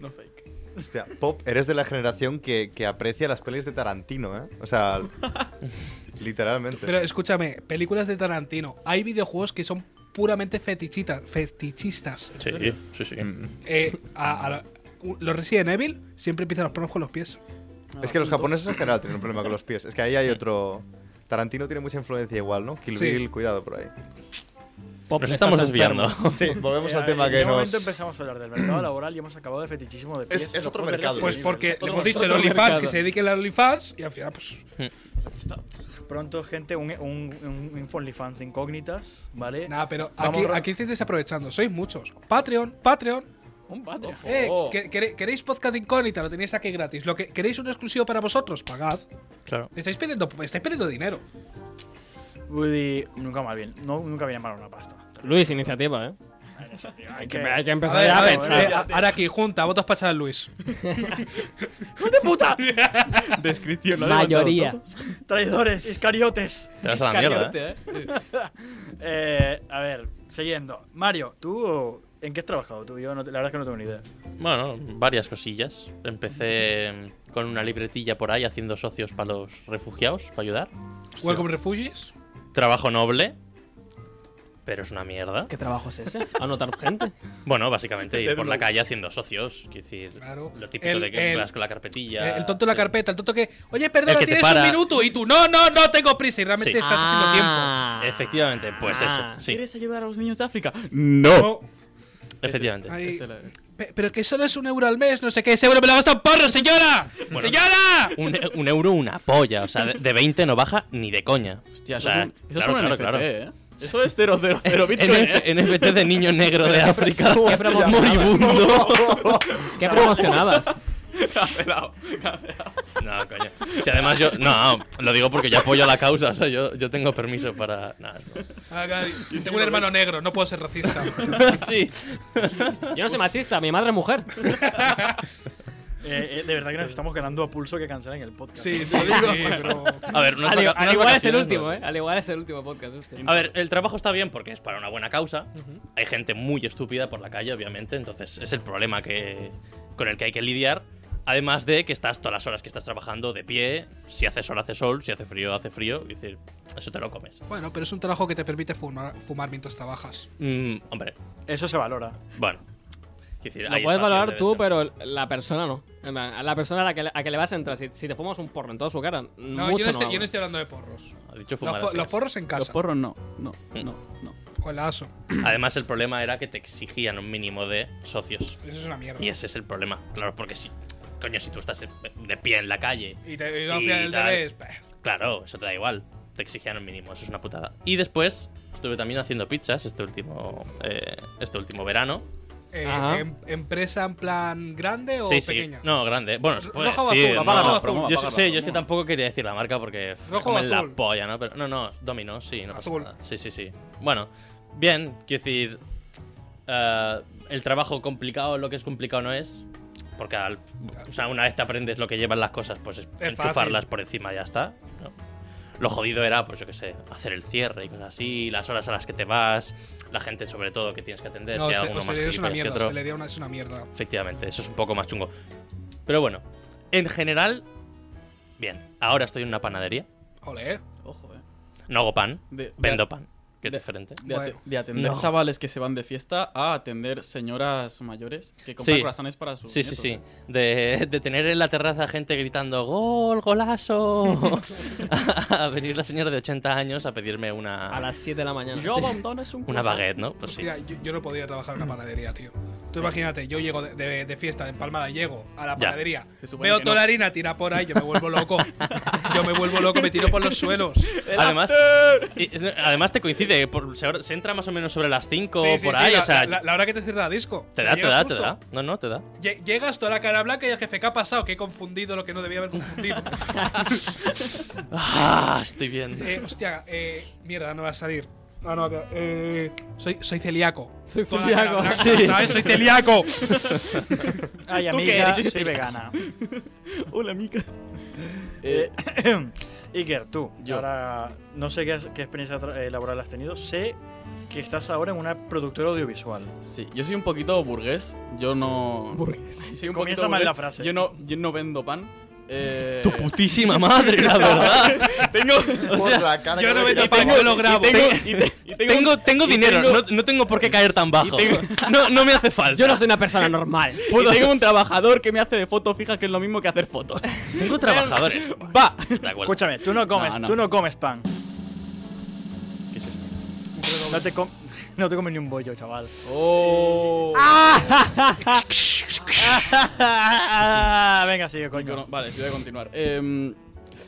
F: No fake.
E: hostia, Pop, eres de la generación que, que aprecia las pelis de Tarantino, ¿eh? O sea, literalmente.
C: Pero escúchame, películas de Tarantino. Hay videojuegos que son puramente fetichitas, fetichistas.
D: Sí, sí, sí.
E: Mm.
C: Eh, a- a la- u- los Resident Evil siempre empiezan los pornos con los pies.
E: es que los japoneses en general tienen un problema con los pies. Es que ahí hay otro... Tarantino tiene mucha influencia igual, ¿no? Kill
C: Sí.
E: Bill, cuidado por ahí.
B: Pop,
D: Nos
B: estás
D: estamos
B: enfermo.
D: desviando.
E: Sí, volvemos
A: Eh,
E: al tema
A: en
E: que
A: qué momento
E: nos...
A: empezamos a hablar del mercado laboral y hemos acabado de fetichismo de pies.
E: Es- es
A: Los
E: otro
A: juegos de
E: mercado.
A: Resident
C: Pues
A: Evil.
C: porque le
F: Todo
C: hemos dicho el
F: otro
C: OnlyFans
F: mercado.
C: que se dediquen al OnlyFans y al final, pues.
A: Pronto, gente, un, un, un, un OnlyFans de incógnitas, ¿vale?
C: Nada, pero
A: Eh, Vamos
C: aquí,
A: ra-
C: aquí estáis desaprovechando. Sois muchos. Patreon, Patreon.
A: Un Patreon.
C: Eh,
F: Oh.
C: que- quere- ¿Queréis podcast incógnita? Lo tenéis aquí gratis. Lo que ¿Queréis un exclusivo para vosotros? Pagad.
D: Claro.
C: Estáis perdiendo, estáis perdiendo dinero.
A: Woody, nunca mal bien. No, nunca viene mal una pasta.
B: Luis, iniciativa, ¿eh?
A: Hay
B: Que Hay que
C: A
B: empezar
C: ver,
B: ya
C: a
B: a
C: ver,
B: pensar.
C: eh, a- ahora aquí, junta, votos para echar Luis.
A: puta!
C: eh,
F: Descripción. ¿lo ha
B: Mayoría.
F: levantado todo?
A: ¡Traidores! ¡Iscariotes!
D: Te vas a la mierda. ¿eh?
A: Eh, a ver, siguiendo. Mario, ¿tú en qué has trabajado tú? Yo no te- la verdad es que no tengo ni idea.
D: Bueno, varias cosillas. Empecé con una libretilla por ahí haciendo socios para los refugiados, para ayudar.
C: Welcome Refugees.
D: Trabajo noble, pero es una mierda.
B: ¿Qué trabajo es ese? Anotar gente.
D: Bueno, básicamente ir
F: Dead
D: por la
F: Note.
D: calle haciendo socios. quiero decir,
C: Claro.
D: lo típico
C: El-
D: de que
C: el-
D: vas con la carpetilla.
C: Eh, el tonto de la
D: sí.
C: carpeta, el tonto que. Oye, perdona,
D: El que te
C: tienes
D: para.
C: un minuto. Y tú, no, no, no tengo prisa. Y realmente
D: Sí.
C: estás
B: Ah.
C: haciendo
D: Efectivamente, pues eso. Sí,
F: ¿Quieres ayudar a los niños de África?
C: tiempo.
D: Este
C: No.
D: efectivamente.
C: Ahí.
F: Ese era-
C: Pe- Pero que solo es un euro al mes, no sé qué. Ese euro me lo gasta un porro, señora.
D: Bueno.
C: ¡Señora!
D: Un, e- un euro, una polla. O sea, de, de 20 no baja ni de coña.
F: Hostia,
D: o
F: eso
D: sea,
F: es un, eso es
D: claro,
F: un
D: claro,
F: NFT,
D: claro.
F: ¿eh? Eso es 000 Bitcoin,
D: NF
F: ¿eh?
D: NFT de niño negro de África.
E: Hostia.
D: Moribundo.
B: ¿Qué promocionabas?
F: Cancelado, cancelado.
D: No, coño. Si además yo. No, lo digo porque yo apoyo la causa. O sea, yo, yo tengo permiso para. nada,
C: Ah, claro, y Tengo un hermano negro, no puedo ser racista.
D: no. Sí.
B: Yo no soy machista, mi madre es mujer.
A: Eh, eh, de verdad que nos estamos ganando a pulso que cancelen el podcast.
C: Sí, sí, sí, pero-
D: A ver, unas
B: Al,
D: vaca-
B: al igual es
D: unas
B: el
D: vacaciones,
B: último,
D: ¿no?
B: ¿eh? Al igual es el último podcast este.
D: A ver, el trabajo está bien porque es para una buena causa. Hay gente muy estúpida por la calle, obviamente, entonces es el problema que, con el que hay que lidiar. Además de que estás todas las horas que estás trabajando de pie, si hace sol, hace sol, si hace frío, hace frío, y decir, eso te lo comes.
C: Bueno, pero es un trabajo que te permite fumar, fumar mientras trabajas.
D: Mm, hombre,
A: Eso se valora.
D: bueno. Quiero decir,
B: Lo
D: hay
B: puedes
D: espacios
B: valorar
D: de
B: tú,
D: descanso.
B: pero la persona no. En plan, a La persona a la que, le- a que le vas a entrar, si, si te fumas un porro en toda su cara,
C: No,
B: mucho
C: yo, no
B: no
C: estoy, yo no
B: habla.
C: estoy hablando de porros.
D: Ha dicho
C: Los,
D: fumar
C: po-
D: así
C: los
D: es.
C: porros en
F: Los
C: casa.
F: porros no, no, no, no.
C: o el aso.
D: Además, el problema era que te exigían un mínimo de socios.
C: Eso es una mierda.
D: Y ese es el problema, claro, porque si, coño, si tú estás de pie en la calle
C: Y te y al
D: Y
C: final del
D: tal.
C: TV es, bah,
D: Claro, eso te da igual. Te exigían el mínimo, eso es una putada. Y después estuve también haciendo pizzas este último, eh, este último verano.
C: eh,
B: Ajá.
C: em- ¿Empresa en plan grande o
D: sí,
C: pequeña?
D: sí. No, grande. Bueno, se puede
C: Roja o
D: decir,
C: azul,
D: no,
C: apaga la
D: no,
C: azul.
D: promo, Yo,
F: apaga
D: sí,
F: la
D: yo es que
F: azul.
D: tampoco quería decir la marca porque me
C: Rojo o
D: comen la
C: azul.
D: polla, ¿no? Pero no, no, Domino, sí, no pasa
C: Azul.
D: nada. Sí, sí, sí. Bueno, bien, quiero decir, eh, el trabajo complicado, lo que es complicado no es. Porque al- o sea, una vez te aprendes lo que llevan las cosas, pues es
C: fácil.
D: enchufarlas por encima y ya está. ¿no? Lo jodido era, pues yo qué sé, hacer el cierre y cosas así, las horas a las que te vas, la gente sobre todo que tienes que atender,
C: No,
D: si hay
C: hoste-
D: alguno más
C: hostelería es una
D: gilipollas que
C: mierda.
D: otro.
C: hostelería una- es una mierda.
D: Efectivamente, eso es un poco más chungo. Pero bueno, en general, bien. Ahora estoy en una panadería.
C: Ole,
F: Ojo, eh.
D: No hago pan,
F: De- de-
D: vendo pan, que es
F: de-
D: diferente.
F: De,
C: Bueno.
F: ate- de atender
D: No.
F: chavales que se van de fiesta a atender señoras mayores que compran
D: Sí.
F: corazones para sus
D: Sí, sí,
F: nietos,
D: sí.
F: eh.
D: De, de tener en la terraza gente gritando ¡Gol, golazo! a, venir la señora de 80 años a pedirme
B: A
D: una,
B: las 7 de la mañana.
F: Yo abandono es un
D: una
F: croissant.
D: baguette, ¿no? Pues sí. Mm.
C: Mira, yo, yo no podría trabajar en una panadería, tío. Tú imagínate, yo llego de, de- de fiesta de empalmada, llego a la
D: Ya.
C: panadería,
F: Se supone
C: veo
F: que
C: toda
F: no.
C: la harina tirada por ahí, yo me vuelvo loco. yo me vuelvo loco, me tiro por los suelos.
D: Además, y- además te coincide, por- se, se entra más o menos sobre las 5
C: Sí,
D: o
C: sí,
D: por
C: sí,
D: ahí,
C: la,
D: o sea,
C: la- la hora que te cierra la disco.
D: te
C: O sea,
D: da, te
C: llegas
D: da, te
C: justo.
D: da. No, no, te da.
C: Lle- Llegas toda la cara blanca y el jefe, ¿qué ha pasado? Que he confundido lo que no debía haber confundido.
D: Ah, estoy bien.
C: Eh, hostia, eh, mierda, no va a salir. Ah, no, acá, eh, soy, soy celíaco.
B: Soy
C: Toda la cara
B: celíaco.
C: blanca,
B: Sí.
C: ¿sabes? Soy celíaco.
A: Ay,
F: ¿Tú qué
A: amiga,
F: eres?
A: soy vegana.
F: Hola, amigas.
A: Iker, tú,
F: Yo.
A: ahora no sé qué, has- qué experiencia tra- eh, laboral has tenido. Sé que estás ahora en una productora audiovisual.
F: Sí, yo soy un poquito burgués. Yo no. Burgués. Soy un
A: Comienza
F: poquito
A: mal la
F: burgués.
A: frase.
F: Yo no, yo no vendo pan. Eh,
D: Tu putísima madre, la verdad.
F: tengo,
D: O
E: Por
D: sea,
E: la cara
C: yo
E: que
C: no
E: le
C: vendo
E: tira
C: pan,
E: Pablo.
C: yo lo grabo.
F: y tengo, y te- y tengo-
D: Tengo, tengo
F: y
D: dinero,
F: tengo-
D: no, no tengo por qué caer tan bajo.
F: tengo-
D: No, no me hace falta.
B: Yo no soy una persona normal.
F: y tengo un trabajador que me hace de foto fija, que es lo mismo que hacer fotos.
D: Tengo trabajadores.
F: Va.
D: Da igual.
A: Escúchame, tú no comes,
F: No, no.
A: tú no comes pan.
D: ¿Qué es esto?
A: No te, com- no te comes ni un bollo, chaval.
F: Oh.
A: Venga, sigue,
F: Yo no-
A: coño.
F: vale, sí, voy a continuar. Em,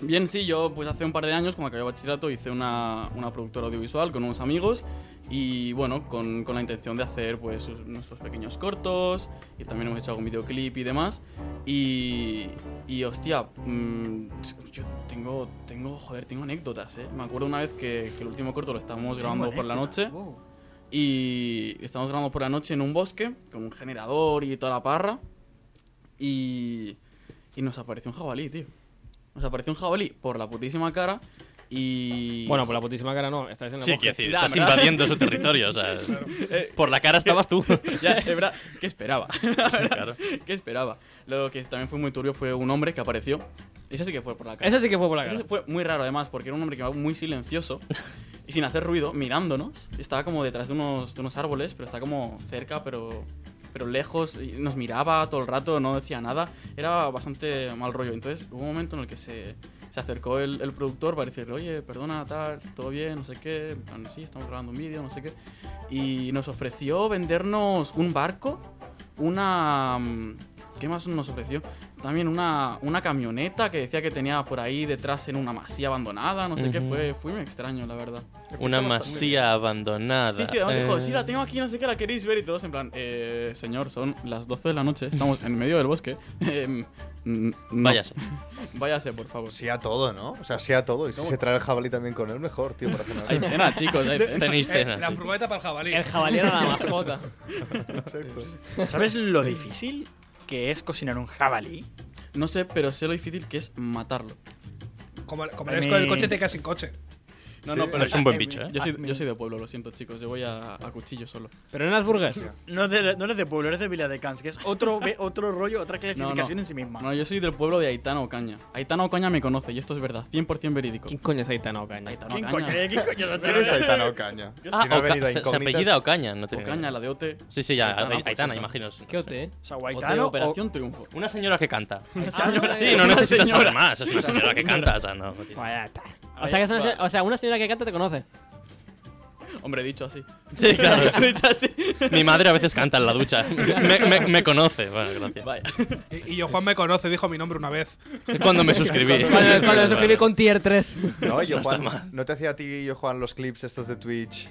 F: bien, sí, yo pues hace un par de años, cuando acabé bachillerato, hice una, una productora audiovisual con unos amigos y bueno, con, con la intención de hacer pues sus- nuestros pequeños cortos y también hemos hecho algún videoclip y demás. Y, y hostia, mm, yo tengo, tengo, joder, tengo anécdotas, ¿eh? Me acuerdo una vez que, que el último corto lo estábamos grabando por la noche. Y estamos grabando por la noche en un bosque con un generador y toda la parra. Y, y nos apareció un jabalí, tío. Nos apareció un jabalí por la putísima cara. Y.
B: Bueno, pues por la putísima cara no, estáis en la
D: Sí,
B: bosque.
D: quiero decir,
F: Da,
D: estás
F: ¿verdad?
D: invadiendo su territorio, o sea,
F: Eh,
D: por la cara estabas tú.
F: ya, es verdad. ¿Qué esperaba?
D: Claro.
F: ¿Qué esperaba? Lo que también fue muy turbio fue un hombre que apareció. Ese sí que fue por la cara.
B: Eso sí que fue por la cara.
F: Ese fue muy raro además, porque era un hombre que iba muy silencioso y sin hacer ruido, mirándonos. Estaba como detrás de unos, de unos árboles, pero está como cerca, pero, pero lejos. Y nos miraba todo el rato, no decía nada. Era bastante mal rollo. Entonces hubo un momento en el que se, se acercó el, el productor para decirle, oye, perdona, tal, todo bien, no sé qué. En plan, Sí, estamos grabando un vídeo, no sé qué. Y nos ofreció vendernos un barco, una... mm, ¿Qué más nos ofreció? También una, una camioneta que decía que tenía por ahí detrás en una masía abandonada, no sé qué,
D: Ujú.
F: fue, fue muy extraño, la verdad.
D: Una masía abandonada.
F: Sí, sí, además
D: Eh,
F: dijo, sí, la tengo aquí, no sé qué, la queréis ver y todos en plan, eh, señor, son las 12 de la noche, estamos en medio del bosque. Em, mm, no.
D: Váyase.
F: Váyase, por favor.
E: Sí a todo, ¿no? O sea, sí a todo. Y si se trae el jabalí también con él, mejor, tío, para cenar.
F: Hay cena, chicos, hay cena.
D: Tenéis
C: Eh,
D: cena.
C: la
D: sí.
C: furgoneta para el jabalí.
B: El jabalí era la mascota.
E: Exacto.
A: ¿Sabes lo difícil que es cocinar un jabalí?
F: No sé, pero sé lo difícil que es matarlo.
C: Como, el- como
A: A
C: eres
A: mí-
C: con el coche, te quedas sin coche.
F: No,
E: Sí.
F: no, pero
D: Es un buen bicho, ¿eh?
F: yo soy, yo soy de pueblo, lo siento, chicos, yo voy a, a cuchillo solo.
B: Pero en las burgues.
A: No, es de- no eres de pueblo, eres de Vila de Cans, que es otro, ve- otro rollo, otra clasificación en sí misma.
F: No, yo soy del pueblo de Aitana Ocaña. Aitana Ocaña me conoce y esto es verdad, 100% verídico.
B: ¿Quién coño es Aitana Ocaña?
F: Aitana
A: ¿Quién
F: Ocaña.
A: coño? ¿Quién coño? es
E: ¿Quién es
A: Aitana?
E: Aitana Ocaña?
D: Ah,
E: Si no ha
D: Oca-
E: venido a
D: se, se
E: incógnitas.
D: apellida Ocaña, no tenía
F: Ocaña,
D: idea.
F: la de OT.
D: Sí, sí, ya,
F: Aitana,
D: Aitana,
F: pues, esa.
D: imagino. sí.
B: ¿Qué OT?
A: O sea,
F: OT,
A: Guaitano o-
F: Operación Triunfo.
D: Una señora que canta.
B: señora.
D: Sí, no
F: Una
D: necesitas
F: señora.
D: saber más, es una señora que canta, o sea, no.
B: O sea, que es una, se- o sea, una señora que canta te conoce.
F: Hombre, dicho así.
D: Sí, claro.
F: dicho así.
D: Mi madre a veces canta en la ducha. Me, me- me conoce, bueno, gracias.
F: Vaya.
C: Y, y yo, Juan me conoce, dijo mi nombre una vez.
D: Cuando me suscribí.
B: Cuando, cuando me suscribí con Tier 3.
E: No, yo,
D: No está
E: Juan,
D: mal.
E: ¿no te hacía a ti y yo, Juan, los clips estos de Twitch?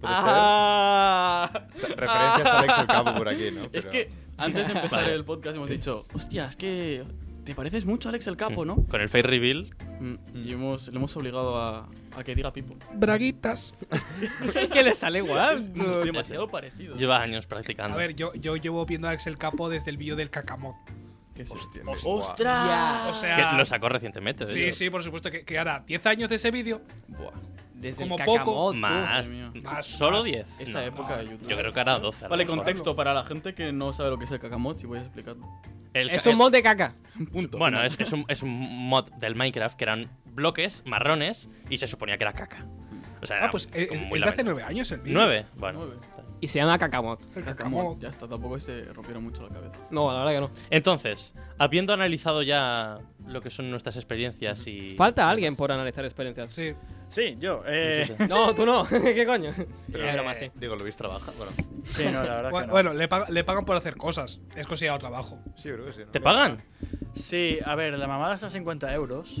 E: ¿Puede
F: Ah.
E: ser? O sea, referencias a Alex el Capo por aquí, ¿no?
F: Es
E: Pero-
F: que antes de empezar
D: Vale.
F: el podcast hemos dicho, hostia, es que te pareces mucho a Alex el Capo, ¿no?
D: Con el face reveal,
F: Mm, Y hemos, le hemos obligado a, a que diga Pipo.
C: Braguitas.
B: que le sale igual. tú.
F: Mm, Demasiado parecido.
D: Llevas años practicando.
C: A ver, yo, yo llevo viendo a Axel Capo desde el vídeo del Cacamot.
F: ¿Qué es eso?
E: Hostia,
F: ¡Ostras!
C: O
D: Ah. Que
C: sea.
D: lo sacó recientemente, de
C: Sí,
D: hecho.
C: sí, por supuesto, que, que hará 10 años de ese vídeo.
F: Buah.
B: Desde
C: Como
B: el
C: poco,
B: Cacamot, tú.
D: Más,
F: madre mía.
C: Más,
D: solo
C: más.
D: 10.
F: Esa
D: No.
F: época de YouTube.
D: Yo creo que era 12. a lo
F: Vale,
D: mejor.
F: contexto para la gente que no sabe lo que es el cacamochi, voy a explicarlo.
D: El ca-
B: Es un
D: el-
B: mod de caca.
F: Punto.
D: Bueno, es, es un, es un mod del Minecraft que eran bloques marrones y se suponía que era caca. O sea,
C: Ah,
D: era
C: pues
D: como
C: es, es
D: muy
C: de hace
D: lamentable.
C: 9 años el vídeo.
D: ¿Nueve? Bueno.
F: Nueve.
B: Y se llama Cacamot.
C: El
A: Ah,
F: Cacamot.
C: Cacamot.
F: Ya está, tampoco se rompieron mucho la cabeza.
B: No, la verdad que
D: Entonces, habiendo analizado ya lo que son nuestras experiencias y...
B: no. Falta alguien por analizar experiencias.
C: Sí.
A: Sí, yo. Eh,
B: No, tú no. ¿Qué coño?
E: Pero-
C: eh,
B: Es broma, sí.
E: Digo, Luis trabaja. Bueno,
A: sí, no, la verdad que
C: Bueno,
A: no.
C: bueno, le, paga- le pagan por hacer cosas. Es considerado trabajo.
E: sí, yo creo que sí. ¿no?
D: ¿Te pagan?
A: Sí, a ver, la mamada está a 50 euros.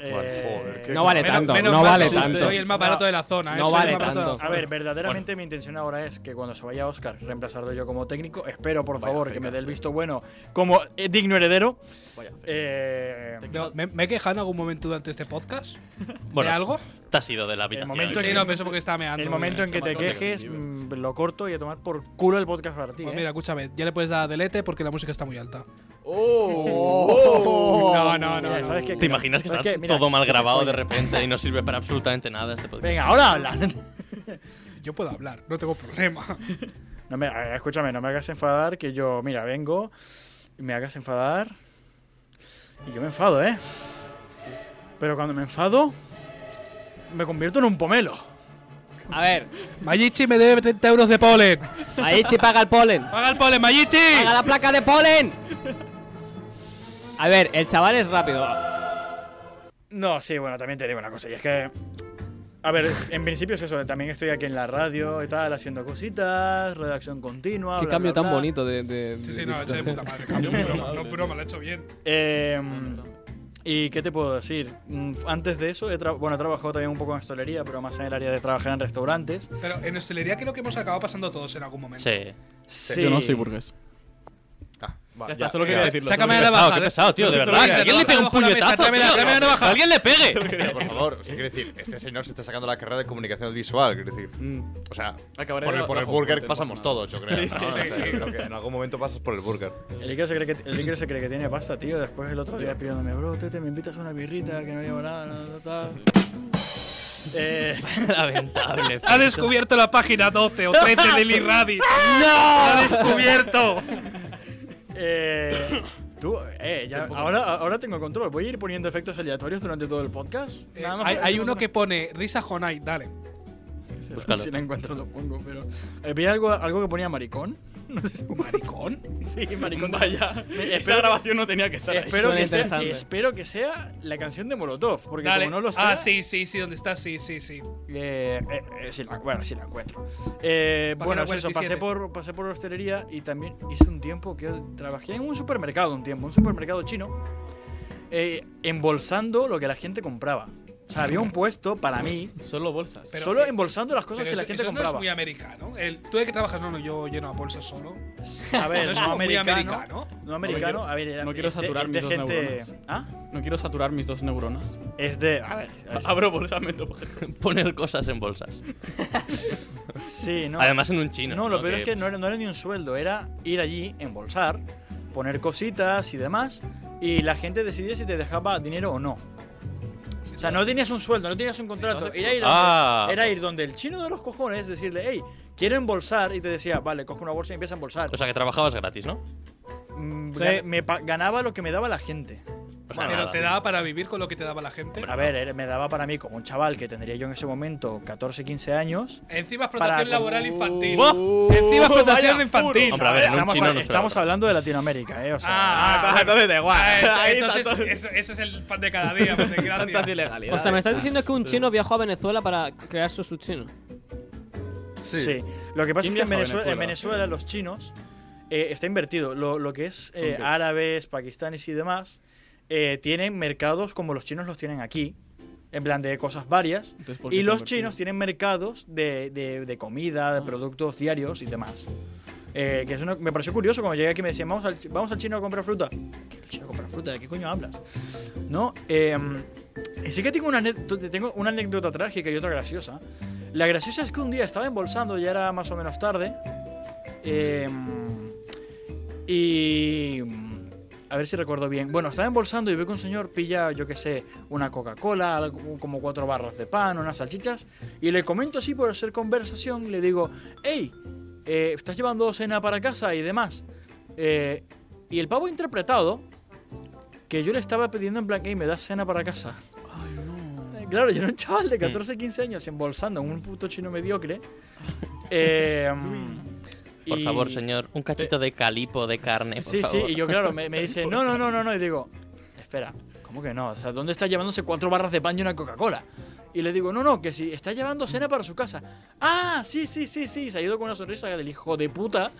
A: Eh,
E: joder, qué-
B: No vale
C: Menos-
B: Eh, tanto,
C: menos
B: no
C: mal
B: vale
C: que soy-
B: tanto.
C: Soy el más barato
A: No,
C: de la zona. ¿eh?
B: no
C: Soy el
B: vale
C: más barato de la
B: tanto.
A: A
C: zona.
A: ver, verdaderamente mi intención ahora es que cuando se vaya Oscar, reemplazarlo yo como técnico. Espero, por
F: Vaya
A: favor, que
F: feca,
A: me dé el
F: sí.
A: visto bueno como eh, digno heredero.
F: Vaya. fe.
A: Eh,
F: Te-
C: No, ¿me, me he quejado en algún momento durante este podcast?
D: Bueno,
C: ¿De algo?
B: eh,
D: Te has ido de la habitación.
A: momento
D: sí.
C: Sí,
A: que-
C: no, pienso porque estaba meando.
A: el momento en que te
F: Chamaco se
A: quejes,
F: vive.
A: mm, lo corto y a tomar por culo el podcast para ti.
C: Pues
A: ¿eh?
C: mira, escúchame, ya le puedes dar a delete porque la música está muy alta.
F: ¡Oh!
C: No, no, no.
A: Mira, ¿sabes qué?
D: ¿Te imaginas que
A: ¿Sabes
D: está
A: qué? Mira,
D: todo mal
A: que me
D: grabado de
A: follen.
D: repente y no sirve para absolutamente nada este podcast?
A: Venga, ahora habla.
C: Yo puedo hablar, no tengo problema.
A: No me, eh, escúchame, no me hagas enfadar que yo, mira, vengo y me hagas enfadar. Y yo me enfado, ¿eh? Pero cuando me enfado, me convierto en un pomelo.
B: A ver,
C: Mayichi me debe 30 euros de polen.
B: ahí se paga el polen.
C: ¡Paga el polen, Mayichi!
B: ¡Paga la placa de polen! A ver, el chaval es rápido.
A: No, sí, bueno, también te digo una cosa, y es que. A ver, en principio es eso, también estoy aquí en la radio y tal, haciendo cositas, redacción continua.
B: Qué
A: bla,
B: cambio
A: bla,
B: tan
A: bla.
B: bonito de. de-
C: Sí,
B: de-
C: sí,
B: de
C: no, eché de
B: situación.
C: puta madre. cabrón,
F: Sí,
C: broma,
F: madre.
C: No, broma, lo he hecho bien.
A: Eh,
F: No, no, no.
A: ¿Y qué te puedo decir? Mm, Antes de eso, he tra- bueno, he trabajado también un poco en hostelería, pero más en el área de trabajar en restaurantes.
C: Pero en hostelería creo que hemos acabado pasando todos en algún momento.
D: Sí. Ah,
A: Sí.
F: Yo no soy burgués.
E: Ah, va,
F: Ya está,
E: ya.
F: solo
C: Ya,
F: quería decirlo.
C: sácame
F: solo
C: la
F: quería-
D: Pesado, qué
C: navaja, eh.
D: pesado, tío, de verdad. Que alguien le pegue un
C: Bajo la mesa,
D: puñetazo,
C: tráeme la-
D: tío.
C: tráeme la
D: Que
C: navaja.
D: alguien le pegue.
E: Pero eh, por favor, o sea, quiero decir, este señor se está sacando la carrera de comunicación visual, quiero decir.
F: Mm.
E: O sea,
F: Acabaré
E: por el,
F: bajo
E: por el
F: el
E: burger
F: puente,
E: pasamos
F: no pasa nada.
E: todos, yo creo.
F: Sí, sí,
E: ¿no? O sea,
C: sí.
E: yo creo que en algún momento pasas por el burger.
A: El Iker, se cree que, el Iker se cree que tiene pasta, tío. Después el otro día pidiéndome, bro, te, me invitas a una birrita que no llevo nada, no, no, tal". Eh,
D: Lamentable.
C: Ha descubierto la página 12 o 13 de Lee Rabbit. ¡No! ¡Ha descubierto!
A: eh, tú, eh, ya- ahora, ahora tengo control. Voy a ir poniendo efectos aleatorios durante todo el podcast.
C: Eh,
A: Nada más
C: hay,
A: para
C: hay
A: decir
C: uno
A: otra-
C: que pone Risa Jonai, dale.
D: Búscalo.
A: Si la encuentro lo pongo, pero. Eh, vi algo, algo que ponía maricón. No sé.
C: ¿Maricón?
A: Sí, maricón.
F: Vaya, esa
A: espero-
F: grabación no tenía que estar ahí.
A: Espero
B: Suena
A: que, sea,
B: interesante.
A: espero que sea la canción de Molotov, porque
C: Dale.
A: como no lo sé.
C: ah, sí, sí, sí, ¿dónde está? Sí, sí, sí.
A: Eh, eh, eh, sí la, bueno, sí la encuentro. Eh,
C: Página
A: bueno, es eso,
C: 47.
A: pasé por, pasé por hostelería y también hice un tiempo que trabajé en un supermercado, un tiempo, un supermercado chino, eh, embolsando lo que la gente compraba. O sea, había un puesto para mí,
F: Solo bolsas.
C: Pero- eh,
A: solo embolsando las cosas
C: Pero
A: que la
C: eso-
A: gente
C: eso No es
A: compraba.
C: muy americano. El, Tú de que trabajas, no, no, yo lleno a bolsas solo.
A: a ver,
C: no
A: no,
C: es como muy
A: americano,
C: americano.
A: No americano,
F: No quiero-
A: a ver, era-
F: no quiero
A: es de-
F: saturar
A: es de
F: mis dos
A: gente.
F: neuronas.
A: ¿Ah?
F: No quiero saturar mis dos neuronas.
A: Es de. A ver, a ver,
F: Abro bolsa, meto objetos.
D: Poner cosas en bolsas.
A: sí, no.
D: Además en un chino.
A: No, lo peor es que no era, no era ni un sueldo, era ir allí, embolsar, poner cositas y demás, y la gente decidía si te dejaba dinero o no. O sea, no tenías un sueldo, no tenías un contrato. Era ir, donde,
D: Ah.
A: era ir donde el chino de los cojones decirle, hey, quiero embolsar, y te decía, vale, coge una bolsa y empieza a embolsar.
D: O sea, que trabajabas gratis, ¿no?
A: Mm,
B: Sí.
A: gan- me pa- ganaba lo que me daba la gente.
D: O sea,
C: pero
D: nada.
C: te daba para vivir con lo que te daba la gente.
A: A ver, era- me daba para mí, como un chaval que tendría yo en ese momento 14, 15 años.
C: Encima explotación
A: Para-
C: laboral infantil.
A: ¡Buah!
C: Encima explotación
F: vaya
C: infantil.
D: Hombre, a ver, en un
A: estamos
D: chino
A: a-
D: no se
A: estamos
D: trabaja.
A: hablando de Latinoamérica, ¿eh? O sea,
C: Ah, ah,
F: entonces da
C: ah,
F: Ahí está
C: entonces,
F: todo.
C: eso, eso es el pan de cada día, por
F: Tantas
C: desgracia.
B: O
F: ilegalidades.
B: sea, me estás diciendo que un chino viajó a Venezuela para crear su chino.
A: Sí. Lo que pasa es
F: ¿Quién
A: que en
F: viaja
A: Venezuela, en
F: a Venezuela?
A: Venezuela los chinos eh, está invertido. Lo, lo que es
F: Son
A: eh,
F: gays.
A: árabes, pakistaníes y demás eh, tienen mercados como los chinos los tienen aquí, en plan de cosas varias.
F: Entonces, ¿por qué
A: Y
F: está
A: los
F: invertido? Ah.
A: chinos tienen mercados de, de- de comida, de productos diarios y demás. Eh, que es uno- me pareció curioso cuando llegué aquí me decían, vamos al, chi- vamos al chino a comprar fruta. ¿Qué quiero comprar fruta, ¿de qué coño hablas? ¿No? Eh, sí que tengo una, anécdota- tengo una anécdota trágica y otra graciosa. La graciosa es que un día estaba embolsando, ya era más o menos tarde. eh, y. A ver si recuerdo bien. Bueno, estaba embolsando y veo que un señor pilla, yo qué sé, una Coca-Cola, algo- como cuatro barras de pan, unas salchichas. Y le comento así por hacer conversación, le digo, hey, estás llevando cena para casa y demás. Eh, y el pavo ha interpretado que yo le estaba pidiendo en plan, hey, me das cena para casa. Eh, Claro, yo era un chaval de 14, 15 años embolsando en un puto chino mediocre. Eh,
D: Por
A: y-
D: favor, señor, un cachito de calipo de carne, Eh, por
A: Sí, sí,
D: favor.
A: y yo, claro, me, me dice, no, no, no, no, no, y digo, espera, ¿cómo que no? O sea, ¿dónde está llevándose cuatro barras de pan y una Coca-Cola? Y le digo, no, no, que si está llevando cena para su casa. Ah, sí, sí, sí, sí, se ha ido con una sonrisa del hijo de puta.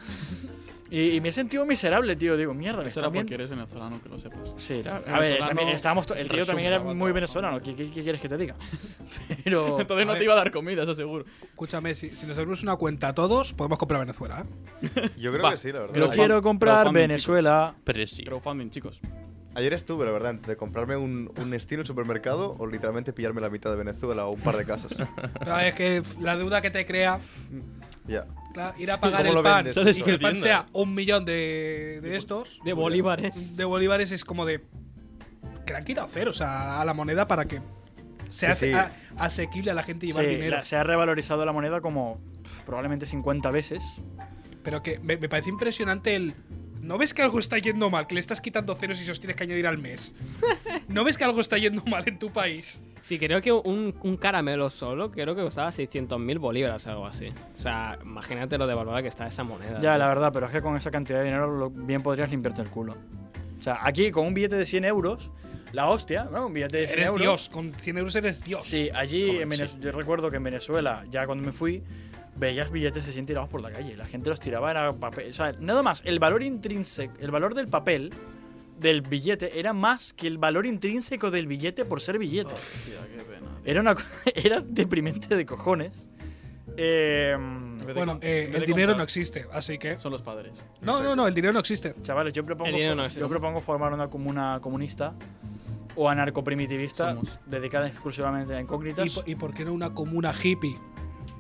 A: Y, y me he sentido miserable, tío. Digo, mierda, me
F: Será
A: están
F: porque
A: viendo.
F: eres venezolano, que lo sepas.
A: Pues Sí, la- a ver,
F: venezolano
A: también estábamos to- el tío también era
F: resulta
A: muy
F: guapo.
A: venezolano. ¿Qué, qué- qué quieres que te diga? Pero.
F: Entonces no
C: ver.
F: te iba a dar comida, eso seguro.
C: Escúchame, si, si nos abrimos una cuenta a todos, podemos comprar Venezuela. ¿eh?
E: Yo creo
F: Va,
E: que sí, la verdad.
A: Yo
F: Crowdfund-
A: quiero comprar
F: crowdfunding,
A: Venezuela.
D: Pero sí.
F: Crowdfunding, chicos.
E: Ayer estuve, la verdad, de comprarme un, un estilo en supermercado o literalmente pillarme la mitad de Venezuela o un par de casas.
C: Pero es que la deuda que te crea
E: ya.
C: claro, ir a
E: Sí,
C: pagar
E: ¿cómo
C: el
E: lo
C: pan
E: vendes?
C: y
E: Sales
C: que el pan
D: perdiendo.
C: sea un millón de, de estos,
B: De bolívares.
C: de bolívares, es como de. Que le han quitado cero, o sea, a la moneda para que sea
E: Sí, sí.
C: ase- a- asequible a la gente llevar
A: Sí,
C: dinero.
A: la- se ha revalorizado la moneda como pff, probablemente 50 veces.
C: Pero que me, me parece impresionante el. ¿No ves que algo está yendo mal? Que le estás quitando ceros y se los tienes que añadir al mes. ¿No ves que algo está yendo mal en tu país?
B: Sí, creo que un, un caramelo solo creo que costaba 600.000 bolívares o algo así. O sea, imagínate lo devaluada que está esa
C: Ah,
B: moneda.
A: Ya,
B: tío.
A: la verdad, pero es que con esa cantidad de dinero lo- bien podrías limpiarte el culo. O sea, aquí con un billete de 100 euros, la hostia, ¿no? Un billete de 100
C: Eres
A: euros.
C: Dios, con 100 euros eres Dios.
A: Sí, allí en Venez- yo recuerdo que en Venezuela, ya cuando me fui, veías billetes de 100 tirados por la calle. La gente los tiraba, era papel. O sea, nada más, el valor intrínseco, el valor del papel del billete era más que el valor intrínseco del billete por ser billete.
F: Hostia, qué pena.
A: Era una co- era deprimente de cojones. Eh,
C: Bueno, eh, el dinero no existe, así que.
F: Son los padres.
C: No, no, no, el dinero no existe.
A: chavales, yo propongo,
B: El dinero
A: for-
B: no existe.
A: yo propongo formar una comuna comunista o anarcoprimitivista
F: Somos.
A: dedicada exclusivamente a incógnitas.
C: ¿Y, po- y por qué no una comuna hippie?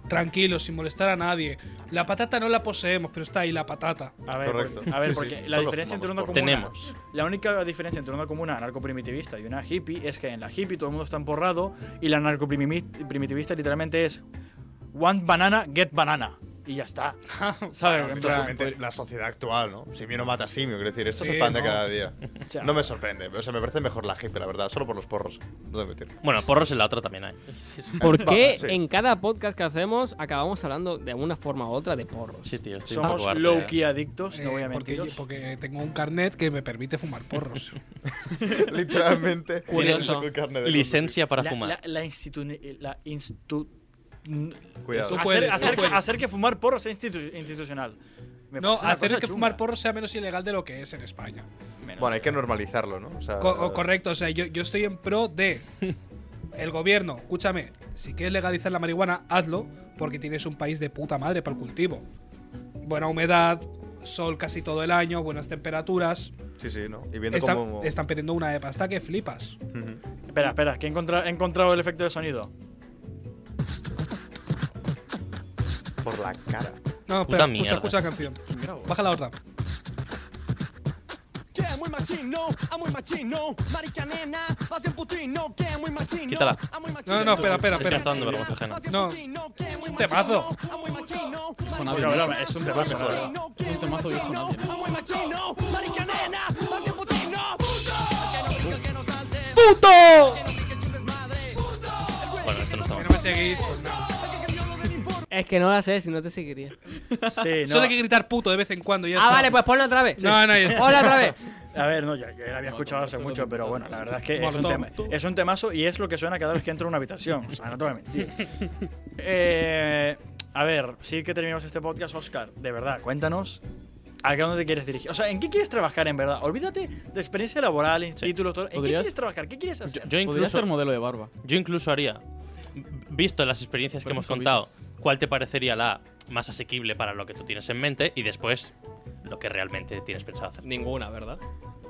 C: Tranquilo, sin molestar a nadie. La patata no la poseemos, pero está ahí la patata.
A: A ver,
E: Correcto.
A: porque, a ver,
E: Sí,
A: porque
E: sí.
A: la
E: Solo
A: diferencia entre una
E: fumamos
A: comuna.
E: porro.
D: Tenemos.
A: La única diferencia entre una comuna anarcoprimitivista y una hippie es que en la hippie todo el mundo está emporrado y la anarcoprimitivista literalmente es want banana, get banana. Y ya está. ¿Sabes? En plan, pues,
E: Básicamente, la sociedad actual, ¿no? Simio no mata simio, quiero decir, esto
C: Sí,
E: es el pan de
C: no.
E: cada día.
A: o sea,
E: No me sorprende, o sea, me parece mejor la hippie, la verdad, solo por los porros. No debo mentir.
D: Bueno, porros en la otra también hay.
B: ¿Por qué
E: Sí.
B: en cada podcast que hacemos acabamos hablando de una forma u otra de porros?
D: Sí, tío. estoy un
A: somos
D: poco harto ya.
A: low-key adictos,
C: Eh,
A: no voy a
C: porque,
A: mentir.
C: porque tengo un carnet que me permite fumar porros.
E: Literalmente,
B: Curioso.
E: se sacó el carnet de
D: Licencia para
A: la,
D: fumar.
A: la, la institu- la instu- n-
E: conducir. Cuidado.
C: Eso-
A: hacer,
C: puedes,
A: hacer-
C: puedes.
A: hacer que fumar porro sea institu- institucional. Me parece
C: No,
A: una
C: hacer
A: cosa
C: que
A: chunga.
C: fumar porros sea menos ilegal de lo que es en España.
E: Bueno, hay que normalizarlo, ¿no? O sea,
C: Co- o correcto, o sea, yo, yo estoy en pro de el gobierno. Escúchame, si quieres legalizar la marihuana, hazlo, porque tienes un país de puta madre para el cultivo. Buena humedad, sol casi todo el año, buenas temperaturas.
E: Sí, sí, ¿no? Y viendo
C: Están,
E: cómo.
C: están perdiendo una de pasta que flipas.
E: Ujú.
A: Espera, espera, que he encontrado, he encontrado el efecto de sonido.
E: Por la cara.
C: No,
D: Puta
C: espera,
D: mierda.
C: escucha, escucha la canción. Baja la otra.
G: Que es muy machino, ah, muy machino, marica nena, más bien putino, que es muy machino,
D: Quítala.
G: ah, muy machino.
C: No, no, espera, espera,
D: Es que me
C: espera.
D: está dando vergüenza ajena.
G: Más bien
C: No.
G: putino, que es muy
C: Temazo.
G: machino, ah, muy machino,
F: Sonado.
G: marica
A: Pero,
G: nena,
A: pero, es un temazo,
G: más bien
A: joder.
G: putino, que
F: Es un
G: es muy
F: temazo de
G: machino,
F: Jonathan.
G: ah, muy machino, marica nena, más bien putino. ¡Puto!
D: Bueno, esto no está
C: Que
D: mal.
C: no me seguís. pues nada.
B: Es que no la sé, si no te seguiría.
A: Sí, no.
C: Solo hay que gritar puto de vez en cuando. y Ya
B: Ah,
C: está.
B: vale, pues ponlo otra vez.
C: No, no, ya está.
B: Ponlo otra vez.
A: A ver, no, ya, ya la había escuchado
F: no,
A: hace
F: eso no
A: mucho,
F: te-
A: pero bueno, la verdad es que es un,
C: Molotov.
A: tema- es un temazo y es lo que suena cada vez que entro a una habitación. O sea, no te voy a mentir. Eh, a ver, sí que terminamos este podcast, Oscar. De verdad, cuéntanos. ¿A qué dónde te quieres dirigir? O sea, ¿en qué quieres trabajar en verdad? Olvídate de experiencia laboral, en títulos, todo. ¿En qué
F: ¿Podrías-
A: quieres trabajar? ¿Qué quieres hacer?
D: Yo
F: Podría
D: incluso,
F: ser modelo de barba.
D: yo incluso haría, visto las experiencias que
F: Parece
D: hemos
F: un
D: contado, cuál te parecería la más asequible para lo que tú tienes en mente y después lo que realmente tienes pensado hacer.
B: Ninguna, ¿verdad?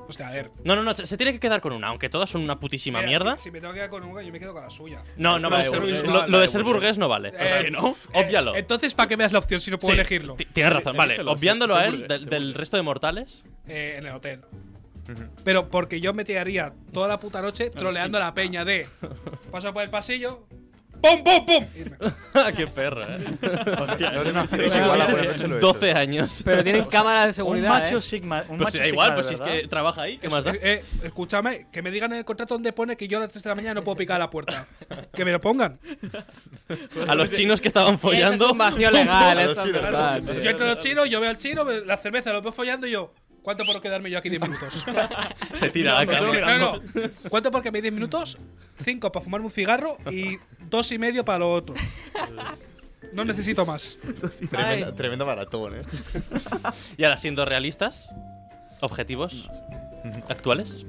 C: O sea, a ver.
D: No, no, no, se tiene que quedar con una, aunque todas son una putísima
C: mira,
D: mierda.
C: Si, si me tengo que quedar con una, yo me quedo con la suya.
D: No, no
C: Lo de
D: vale.
C: ser
D: Lo,
C: visual,
D: lo de
C: vale,
D: ser
C: porque-
D: burgués no vale. O sea,
C: Eh,
D: no,
C: Eh,
D: óbvialo.
C: Entonces, ¿para qué me das la opción si no puedo
D: Sí,
C: elegirlo?
D: ti- Tienes razón, vale.
F: Elígelo,
D: obviándolo
F: sí,
D: a
F: sí,
D: él
F: burgués,
D: del,
F: sí,
D: del
F: burgués.
D: resto de mortales.
C: Eh, en el hotel. Pero porque yo me tiraría toda la puta noche troleando a la peña de. Paso por el pasillo. ¡Pum, pum, pum! Irme.
D: Qué perro, eh.
E: No te
D: Pero
E: menciones
D: si
E: igual a
D: tuvieses
E: buena noche lo he
D: 12
E: hecho.
D: años.
B: Pero tienen cámaras de
A: Un
B: seguridad.
A: macho
B: ¿eh?
A: Sigma. Un
D: Pues
A: macho
D: da igual,
A: sigma,
D: pues si
A: de
D: es
A: verdad.
D: que trabaja ahí, ¿qué más da?
C: Eh, eh, escúchame, que me digan en el contrato donde pone que yo a las 3 de la mañana no puedo picar a la puerta. Que me lo pongan.
D: A los chinos que estaban
B: Eso es
D: follando.
B: un vacío legal,
E: A los
B: eso es
E: chinos.
B: verdad.
C: Yo
B: tío.
C: entro a los chinos, yo veo al chino, me- la cerveza, lo veo follando y yo. ¿Cuánto por quedarme yo aquí 10 minutos?
D: Se tira a la
C: No, pues
D: cama.
C: no, no. ¿Cuánto por quedarme 10 minutos? 5 para fumarme un cigarro y dos y medio para lo otro. No necesito más.
E: Tremenda, tremendo maratón, eh.
D: Y ahora, siendo realistas, objetivos actuales.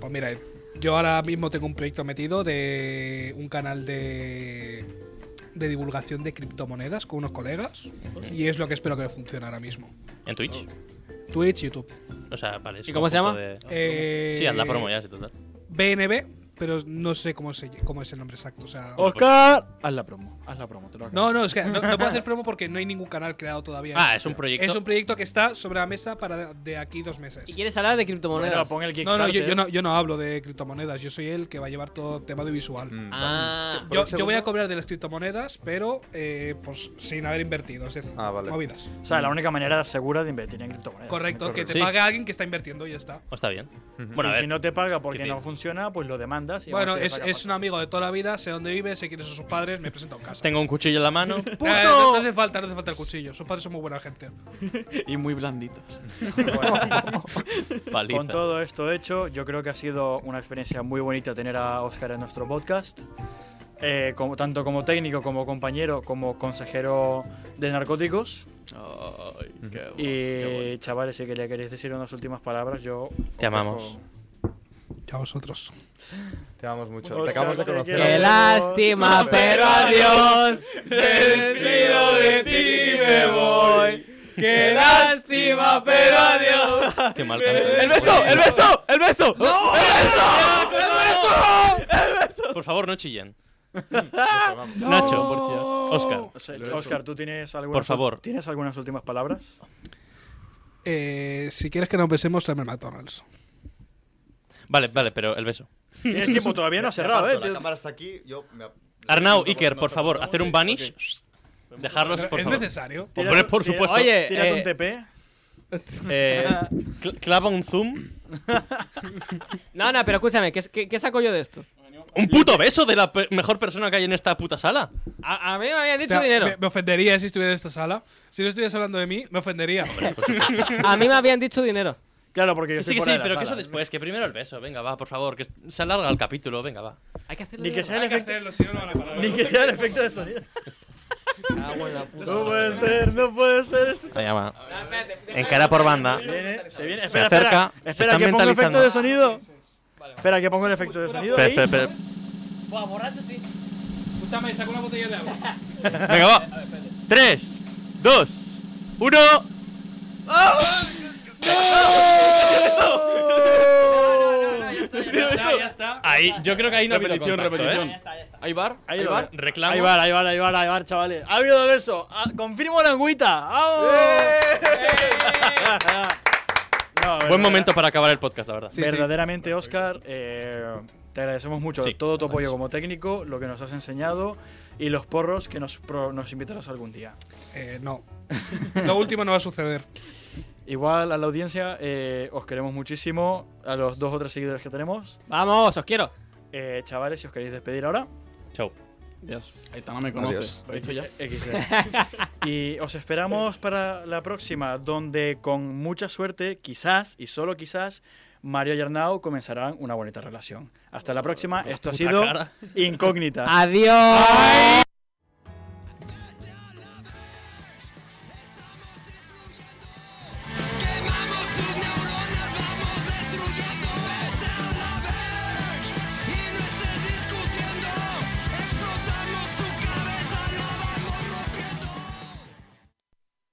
C: Pues mira, yo ahora mismo tengo un proyecto metido de un canal de, de divulgación de criptomonedas con unos colegas y es lo que espero que funcione ahora mismo.
D: En Twitch.
C: Twitch, YouTube.
D: O sea, vale. es
B: ¿Y cómo se
D: como un
B: llama?
D: poco de-
C: Eh,
D: Ah, Sí, haz la promo ya, sí, total.
C: BNB, pero no sé cómo, se, cómo es el nombre exacto. O sea,
D: Oh,
A: Oscar,
D: Pues-
A: haz la promo. Haz la promo, te lo acabo.
C: no, no, es que no, no puedo hacer promo porque no hay ningún canal creado todavía.
D: Ah, es un proyecto.
C: Es un proyecto que está sobre la mesa para de aquí dos meses.
B: ¿Y quieres hablar de
A: Bueno,
B: criptomonedas?
A: pon el
C: No,
A: Kickstarter.
C: no yo, yo no, yo no hablo de criptomonedas, yo soy el que va a llevar todo el tema de visual.
E: Mm,
B: Ah,
E: vale.
C: Yo,
E: ¿Por un
C: yo voy a
E: segundo?
C: cobrar de las criptomonedas, pero eh, pues sin haber invertido, es decir,
E: Ah, vale. Eh,
C: movidas.
A: O sea, la única manera segura de invertir en criptomonedas.
C: Correcto, que te
D: Sí.
C: pague alguien que está invirtiendo y ya está.
D: Oh, está bien.
E: Ujú.
D: Bueno,
A: y
D: a ver.
A: si no te paga porque
D: ¿qué
A: no
D: te-
A: funciona, pues lo demandas. y
C: bueno,
A: vamos a
C: es,
A: ver si
C: es un amigo de toda la vida, sé dónde vive, sé quiénes son sus padres, me presenta a casa.
D: Tengo un cuchillo en la mano.
C: Eh, no, no hace falta, no hace falta el cuchillo, sus padres son muy buena gente.
F: Y muy blanditos.
A: Bueno,
D: Paliza.
A: con todo esto hecho, yo creo que ha sido una experiencia muy bonita tener a Oscar en nuestro podcast. Eh, como, tanto como técnico, como compañero, como consejero de narcóticos.
F: Ay, qué eh. bueno,
A: Y
F: qué bueno.
A: chavales, si le queréis decir unas últimas palabras, yo. os dejo-
D: amamos.
C: Ya vosotros.
E: Te amamos mucho.
A: Oscar,
E: te acabamos de
A: te
E: conocer.
A: quiero.
B: Qué lástima, pero adiós.
E: despido de ti, me voy.
B: Qué lástima, pero adiós.
D: Qué mal
B: Eh,
D: canción.
F: ¡El beso! ¡El beso!
D: Por favor, no chillen.
F: No,
D: Nacho,
F: por chillar.
D: Oscar.
A: O sea, Oscar, ¿tú tienes algunas,
D: Por favor.
A: ¿tienes algunas últimas palabras?
C: Eh, si quieres que nos besemos, tráeme el McDonald's.
D: Vale, vale, pero el beso.
A: Tienes tiempo, todavía no ha
E: Me
A: cerrado,
E: aparto,
A: eh.
E: La
A: tío.
E: cámara está aquí. Yo me...
D: Arnau,
E: Nos
D: Iker, por
E: apartamos,
D: favor, hacer un
E: sí,
D: banish.
E: ok.
D: Dejarlos, por
C: ¿Es
D: favor.
C: necesario?
D: Hombre,
A: Tírate-
D: por
A: tírate-
D: supuesto.
B: Oye,
A: tírate
B: eh,
A: un TP.
D: Eh, cl- clava un zoom.
B: No, no, pero escúchame, ¿qué, qué, qué saco yo de esto?
D: Un puto beso de la pe- mejor persona que hay en esta puta sala.
B: A, a mí me habían
C: O
B: dicho
C: sea,
B: dinero.
C: me, me ofendería si estuviera en esta sala. Si no estuvieras hablando de mí, me ofendería.
B: A mí me habían dicho dinero.
A: Claro, porque yo
D: Sí,
A: estoy
D: que sí,
A: fuera de la
D: pero que eso
A: sala.
D: después, que primero el beso. Venga, va, por favor, que se alarga el capítulo, venga, va.
B: Hay que hacerlo.
A: Ni que sea el
C: Hay que
A: efecto,
C: hacerlo, si no, Eh, no van a parar.
A: ni que sea el efecto de sonido.
B: Ah,
A: No puede ser, no puede ser esto.
D: Se llama. En cara por banda.
A: Viene, se viene,
D: Se
A: espera, espera,
D: acerca, se
A: espera
D: está
A: que ponga el
D: mentalizando.
A: efecto de sonido. Espera que ponga el efecto de sonido.
D: Espera,
A: ahí.
D: espera, espera.
C: Escúchame, saco una botella de agua.
D: Venga, va. 3, 2, 1.
C: Ya, ya está.
D: Ahí, yo creo que ahí no ha habido
F: Repetición,
D: contacto,
F: repetición.
D: ¿eh?
F: ¿Hay bar?
A: Ahí
F: ¿Hay
A: lo
F: bar?
A: veo.
D: Reclamo.
A: Ahí va, ahí va, ahí va, ahí va, chavales. Ha habido verso. Ah, confirmo la angüita. ¡Vamos! No,
D: Buen
A: verdadera-
D: momento para acabar el podcast, la verdad.
C: Sí, sí.
A: verdaderamente, Oscar, eh, te agradecemos mucho
D: Sí,
A: todo tu apoyo como técnico, lo que nos has enseñado y los porros que nos, pro- nos invitarás algún día.
C: Eh, no. Lo último no va a suceder.
A: Igual a la audiencia, eh, os queremos muchísimo, a los dos o tres seguidores que tenemos.
B: Vamos, os quiero.
A: Eh, chavales, si os queréis despedir ahora,
D: Chau.
F: Aitana me
E: Adiós.
F: conoces. ¿Lo he dicho ya?
A: XD. y os esperamos para la próxima, donde con mucha suerte, quizás y solo quizás, Mario y Arnau comenzarán una bonita relación. Hasta la próxima, esto ha
D: puta
A: sido
D: cara.
A: Incógnitas.
B: Adiós.
G: Quemamos tus neuronas, vamos destruyendo Vete a la verge y no estés discutiendo Explotamos tu cabeza, la vamos rompiendo